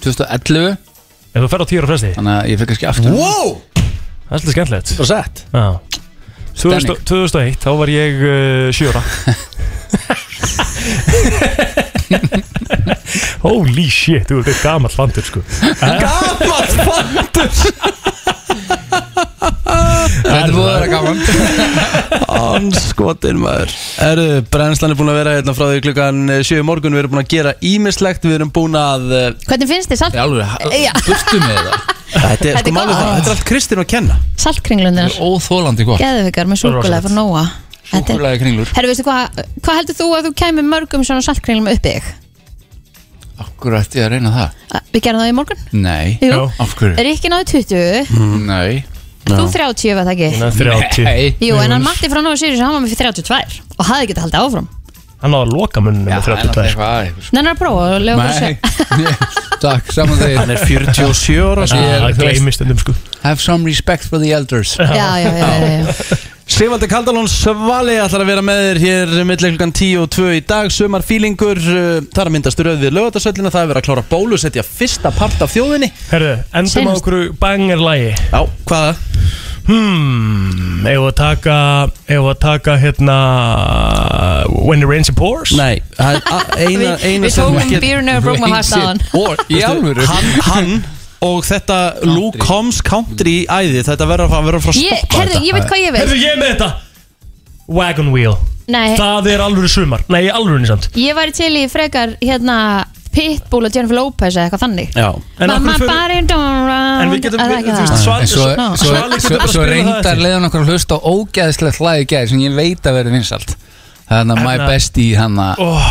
O: 2011
C: Ef þú ferð á 10 ára fresti
O: Þannig að ég fyrir kannski aftur
A: Wow
C: Það er svolítið skemmtilegt
A: Bara sett
C: Já 2000 2001, þá var ég
A: uh,
C: 7 ára [LAUGHS] Holy shit, þú ert eitt gamall fandur sko
A: Gamall fandur
O: Þetta er búið að vera gaman
A: Anskotin maður Erðu, brennslan er búin að vera hérna frá því klukkan 7 morgun Við erum búin að gera ímislegt Við erum búin að eh,
B: Hvernig finnst þið salt? Já.
O: burtu með
B: [LAUGHS]
O: það
A: Þetta er
B: Þetta er
A: sko málið
B: gott.
A: það Þetta er allt Kristín að kenna
B: Saltkringlundir
O: Óþólandi gott
B: Geðvikar með súkulega frá Nóa
O: Súkulega kringlur
B: Herru, veistu hvað hva heldur þú að þú kæmi mörgum svona saltkringlum upp í þig?
O: Akkur ætti ég að reyna það
B: A- Við gerum það í morgun
O: Nei
B: Jú.
O: Af hverju? Hmm.
B: Rikki náðu 20
O: Nei
B: Þú 30 var það ekki
C: Nei, 30.
O: Nei
B: Jú, en hann Matti frá Nóa Sirius, hann var með 32 og hafði getið haldið áfram
C: Hann náði að loka munnum með 32 sko.
O: Nei,
B: Nennar að prófa og lega okkur að
O: [LAUGHS] Takk, saman þegar
A: Hann er 47 ára sko.
O: Ég er-
C: Það
O: þú veist-
C: gleymist ennum sko
O: Have some respect for the elders
B: segja Já, já, já, já, já.
A: Sigvaldi Kaldalón Svali ætlar að vera með þér hér millir klukkan 10 og 2 í dag Sumar fílingur, uh, það er að myndast röð við lögatarsöllina Það er verið að klára bólusetja fyrsta part af þjóðinni
C: Herðu, endum á
A: Seinast.
C: okkur bangerlægi
A: Já, hvaða?
C: Hmm, ef að taka, ef að taka hérna When it rains it pours
A: Nei, það er
C: [LAUGHS]
A: a- eina,
B: Við-
A: eina
B: við tókum Beer Never Broke My Heart áðan.
A: Og,
O: Í alvöru?
A: Hann, hann og þetta Luke Combs country æði Þetta verður að fara- verður að fara að
B: Ég-
A: stoppa
B: heyrðu,
A: þetta
B: ég veit hvað ég veit.
C: Herðu, ég er með þetta Wagon wheel
B: Nei,
C: Það er alvöru sumar Nei, alvöru nýsamt
B: ég væri til í frekar hérna Pitbull og Jennifer Lopez eða eitthvað þannig
A: Já
C: En af
B: Mamma
C: hverju förum-
B: body don't run
C: En við getum-
B: Er það ekki
C: þú
B: það?
C: veist, Sval-
O: En svo,
C: Sval-
O: svo,
C: Svalur getur
O: svo,
C: bara
O: svo
C: spilað það
O: reyndar
C: eftir.
O: leiðan okkur að hlusta á ógæðislegt lag í gæði sem ég veit að verði vinsalt Þannig að My
C: Hérna.
O: Bestie hann að
C: oh,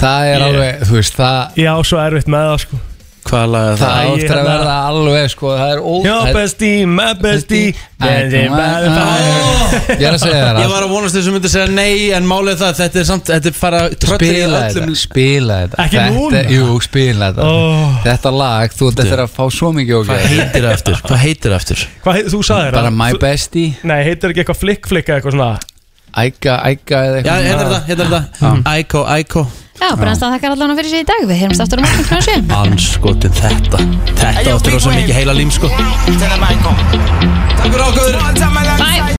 O: það er
C: Ég-
O: alveg, þú veist, það
C: Ég á svo erfitt með það sko
A: Hvaða lag er það?
O: það
C: ég-
O: áttur að
C: hérna-
O: verða alveg sko, það er ó
C: Your
O: það er-
C: bestie, my bestie
O: I
C: Dancing
O: don't
C: by the
O: want-
C: fire
O: Ég er að segja
A: Ég
O: þér
A: var
O: að
A: að vonast þessu myndi segja nei En málið er það, þetta er samt Þetta er fara að tröllið í
O: spila
A: öllum
O: þetta, spila þetta
C: Ekki
O: Þetta-
C: núna?
O: Jú, spila þetta
C: Oh.
O: Þetta lag, þú ert eftir að fá svo mikið
A: Hvað
O: ógæði
A: heitir það eftir? Hvað heitir það eftir?
C: Hvað heit, þú sagði þér
O: Bara
C: að-
O: My
C: þú-
O: Bestie,
C: Nei, heitir ekki eitthvað flick flick eða eitthvað svona
O: Æka, Æka eða
A: Já, hérna
O: eitthvað
A: heitir þetta, heitir þetta Ækó, ækó
B: Já, brennstan þakkar allan fyrir sig í dag Við heyrumst
O: Mm.
B: aftur á morgun kljóðan 7
A: Anskotin þetta Þetta áttur á svo mikið heila lím sko Takk fyrir okkur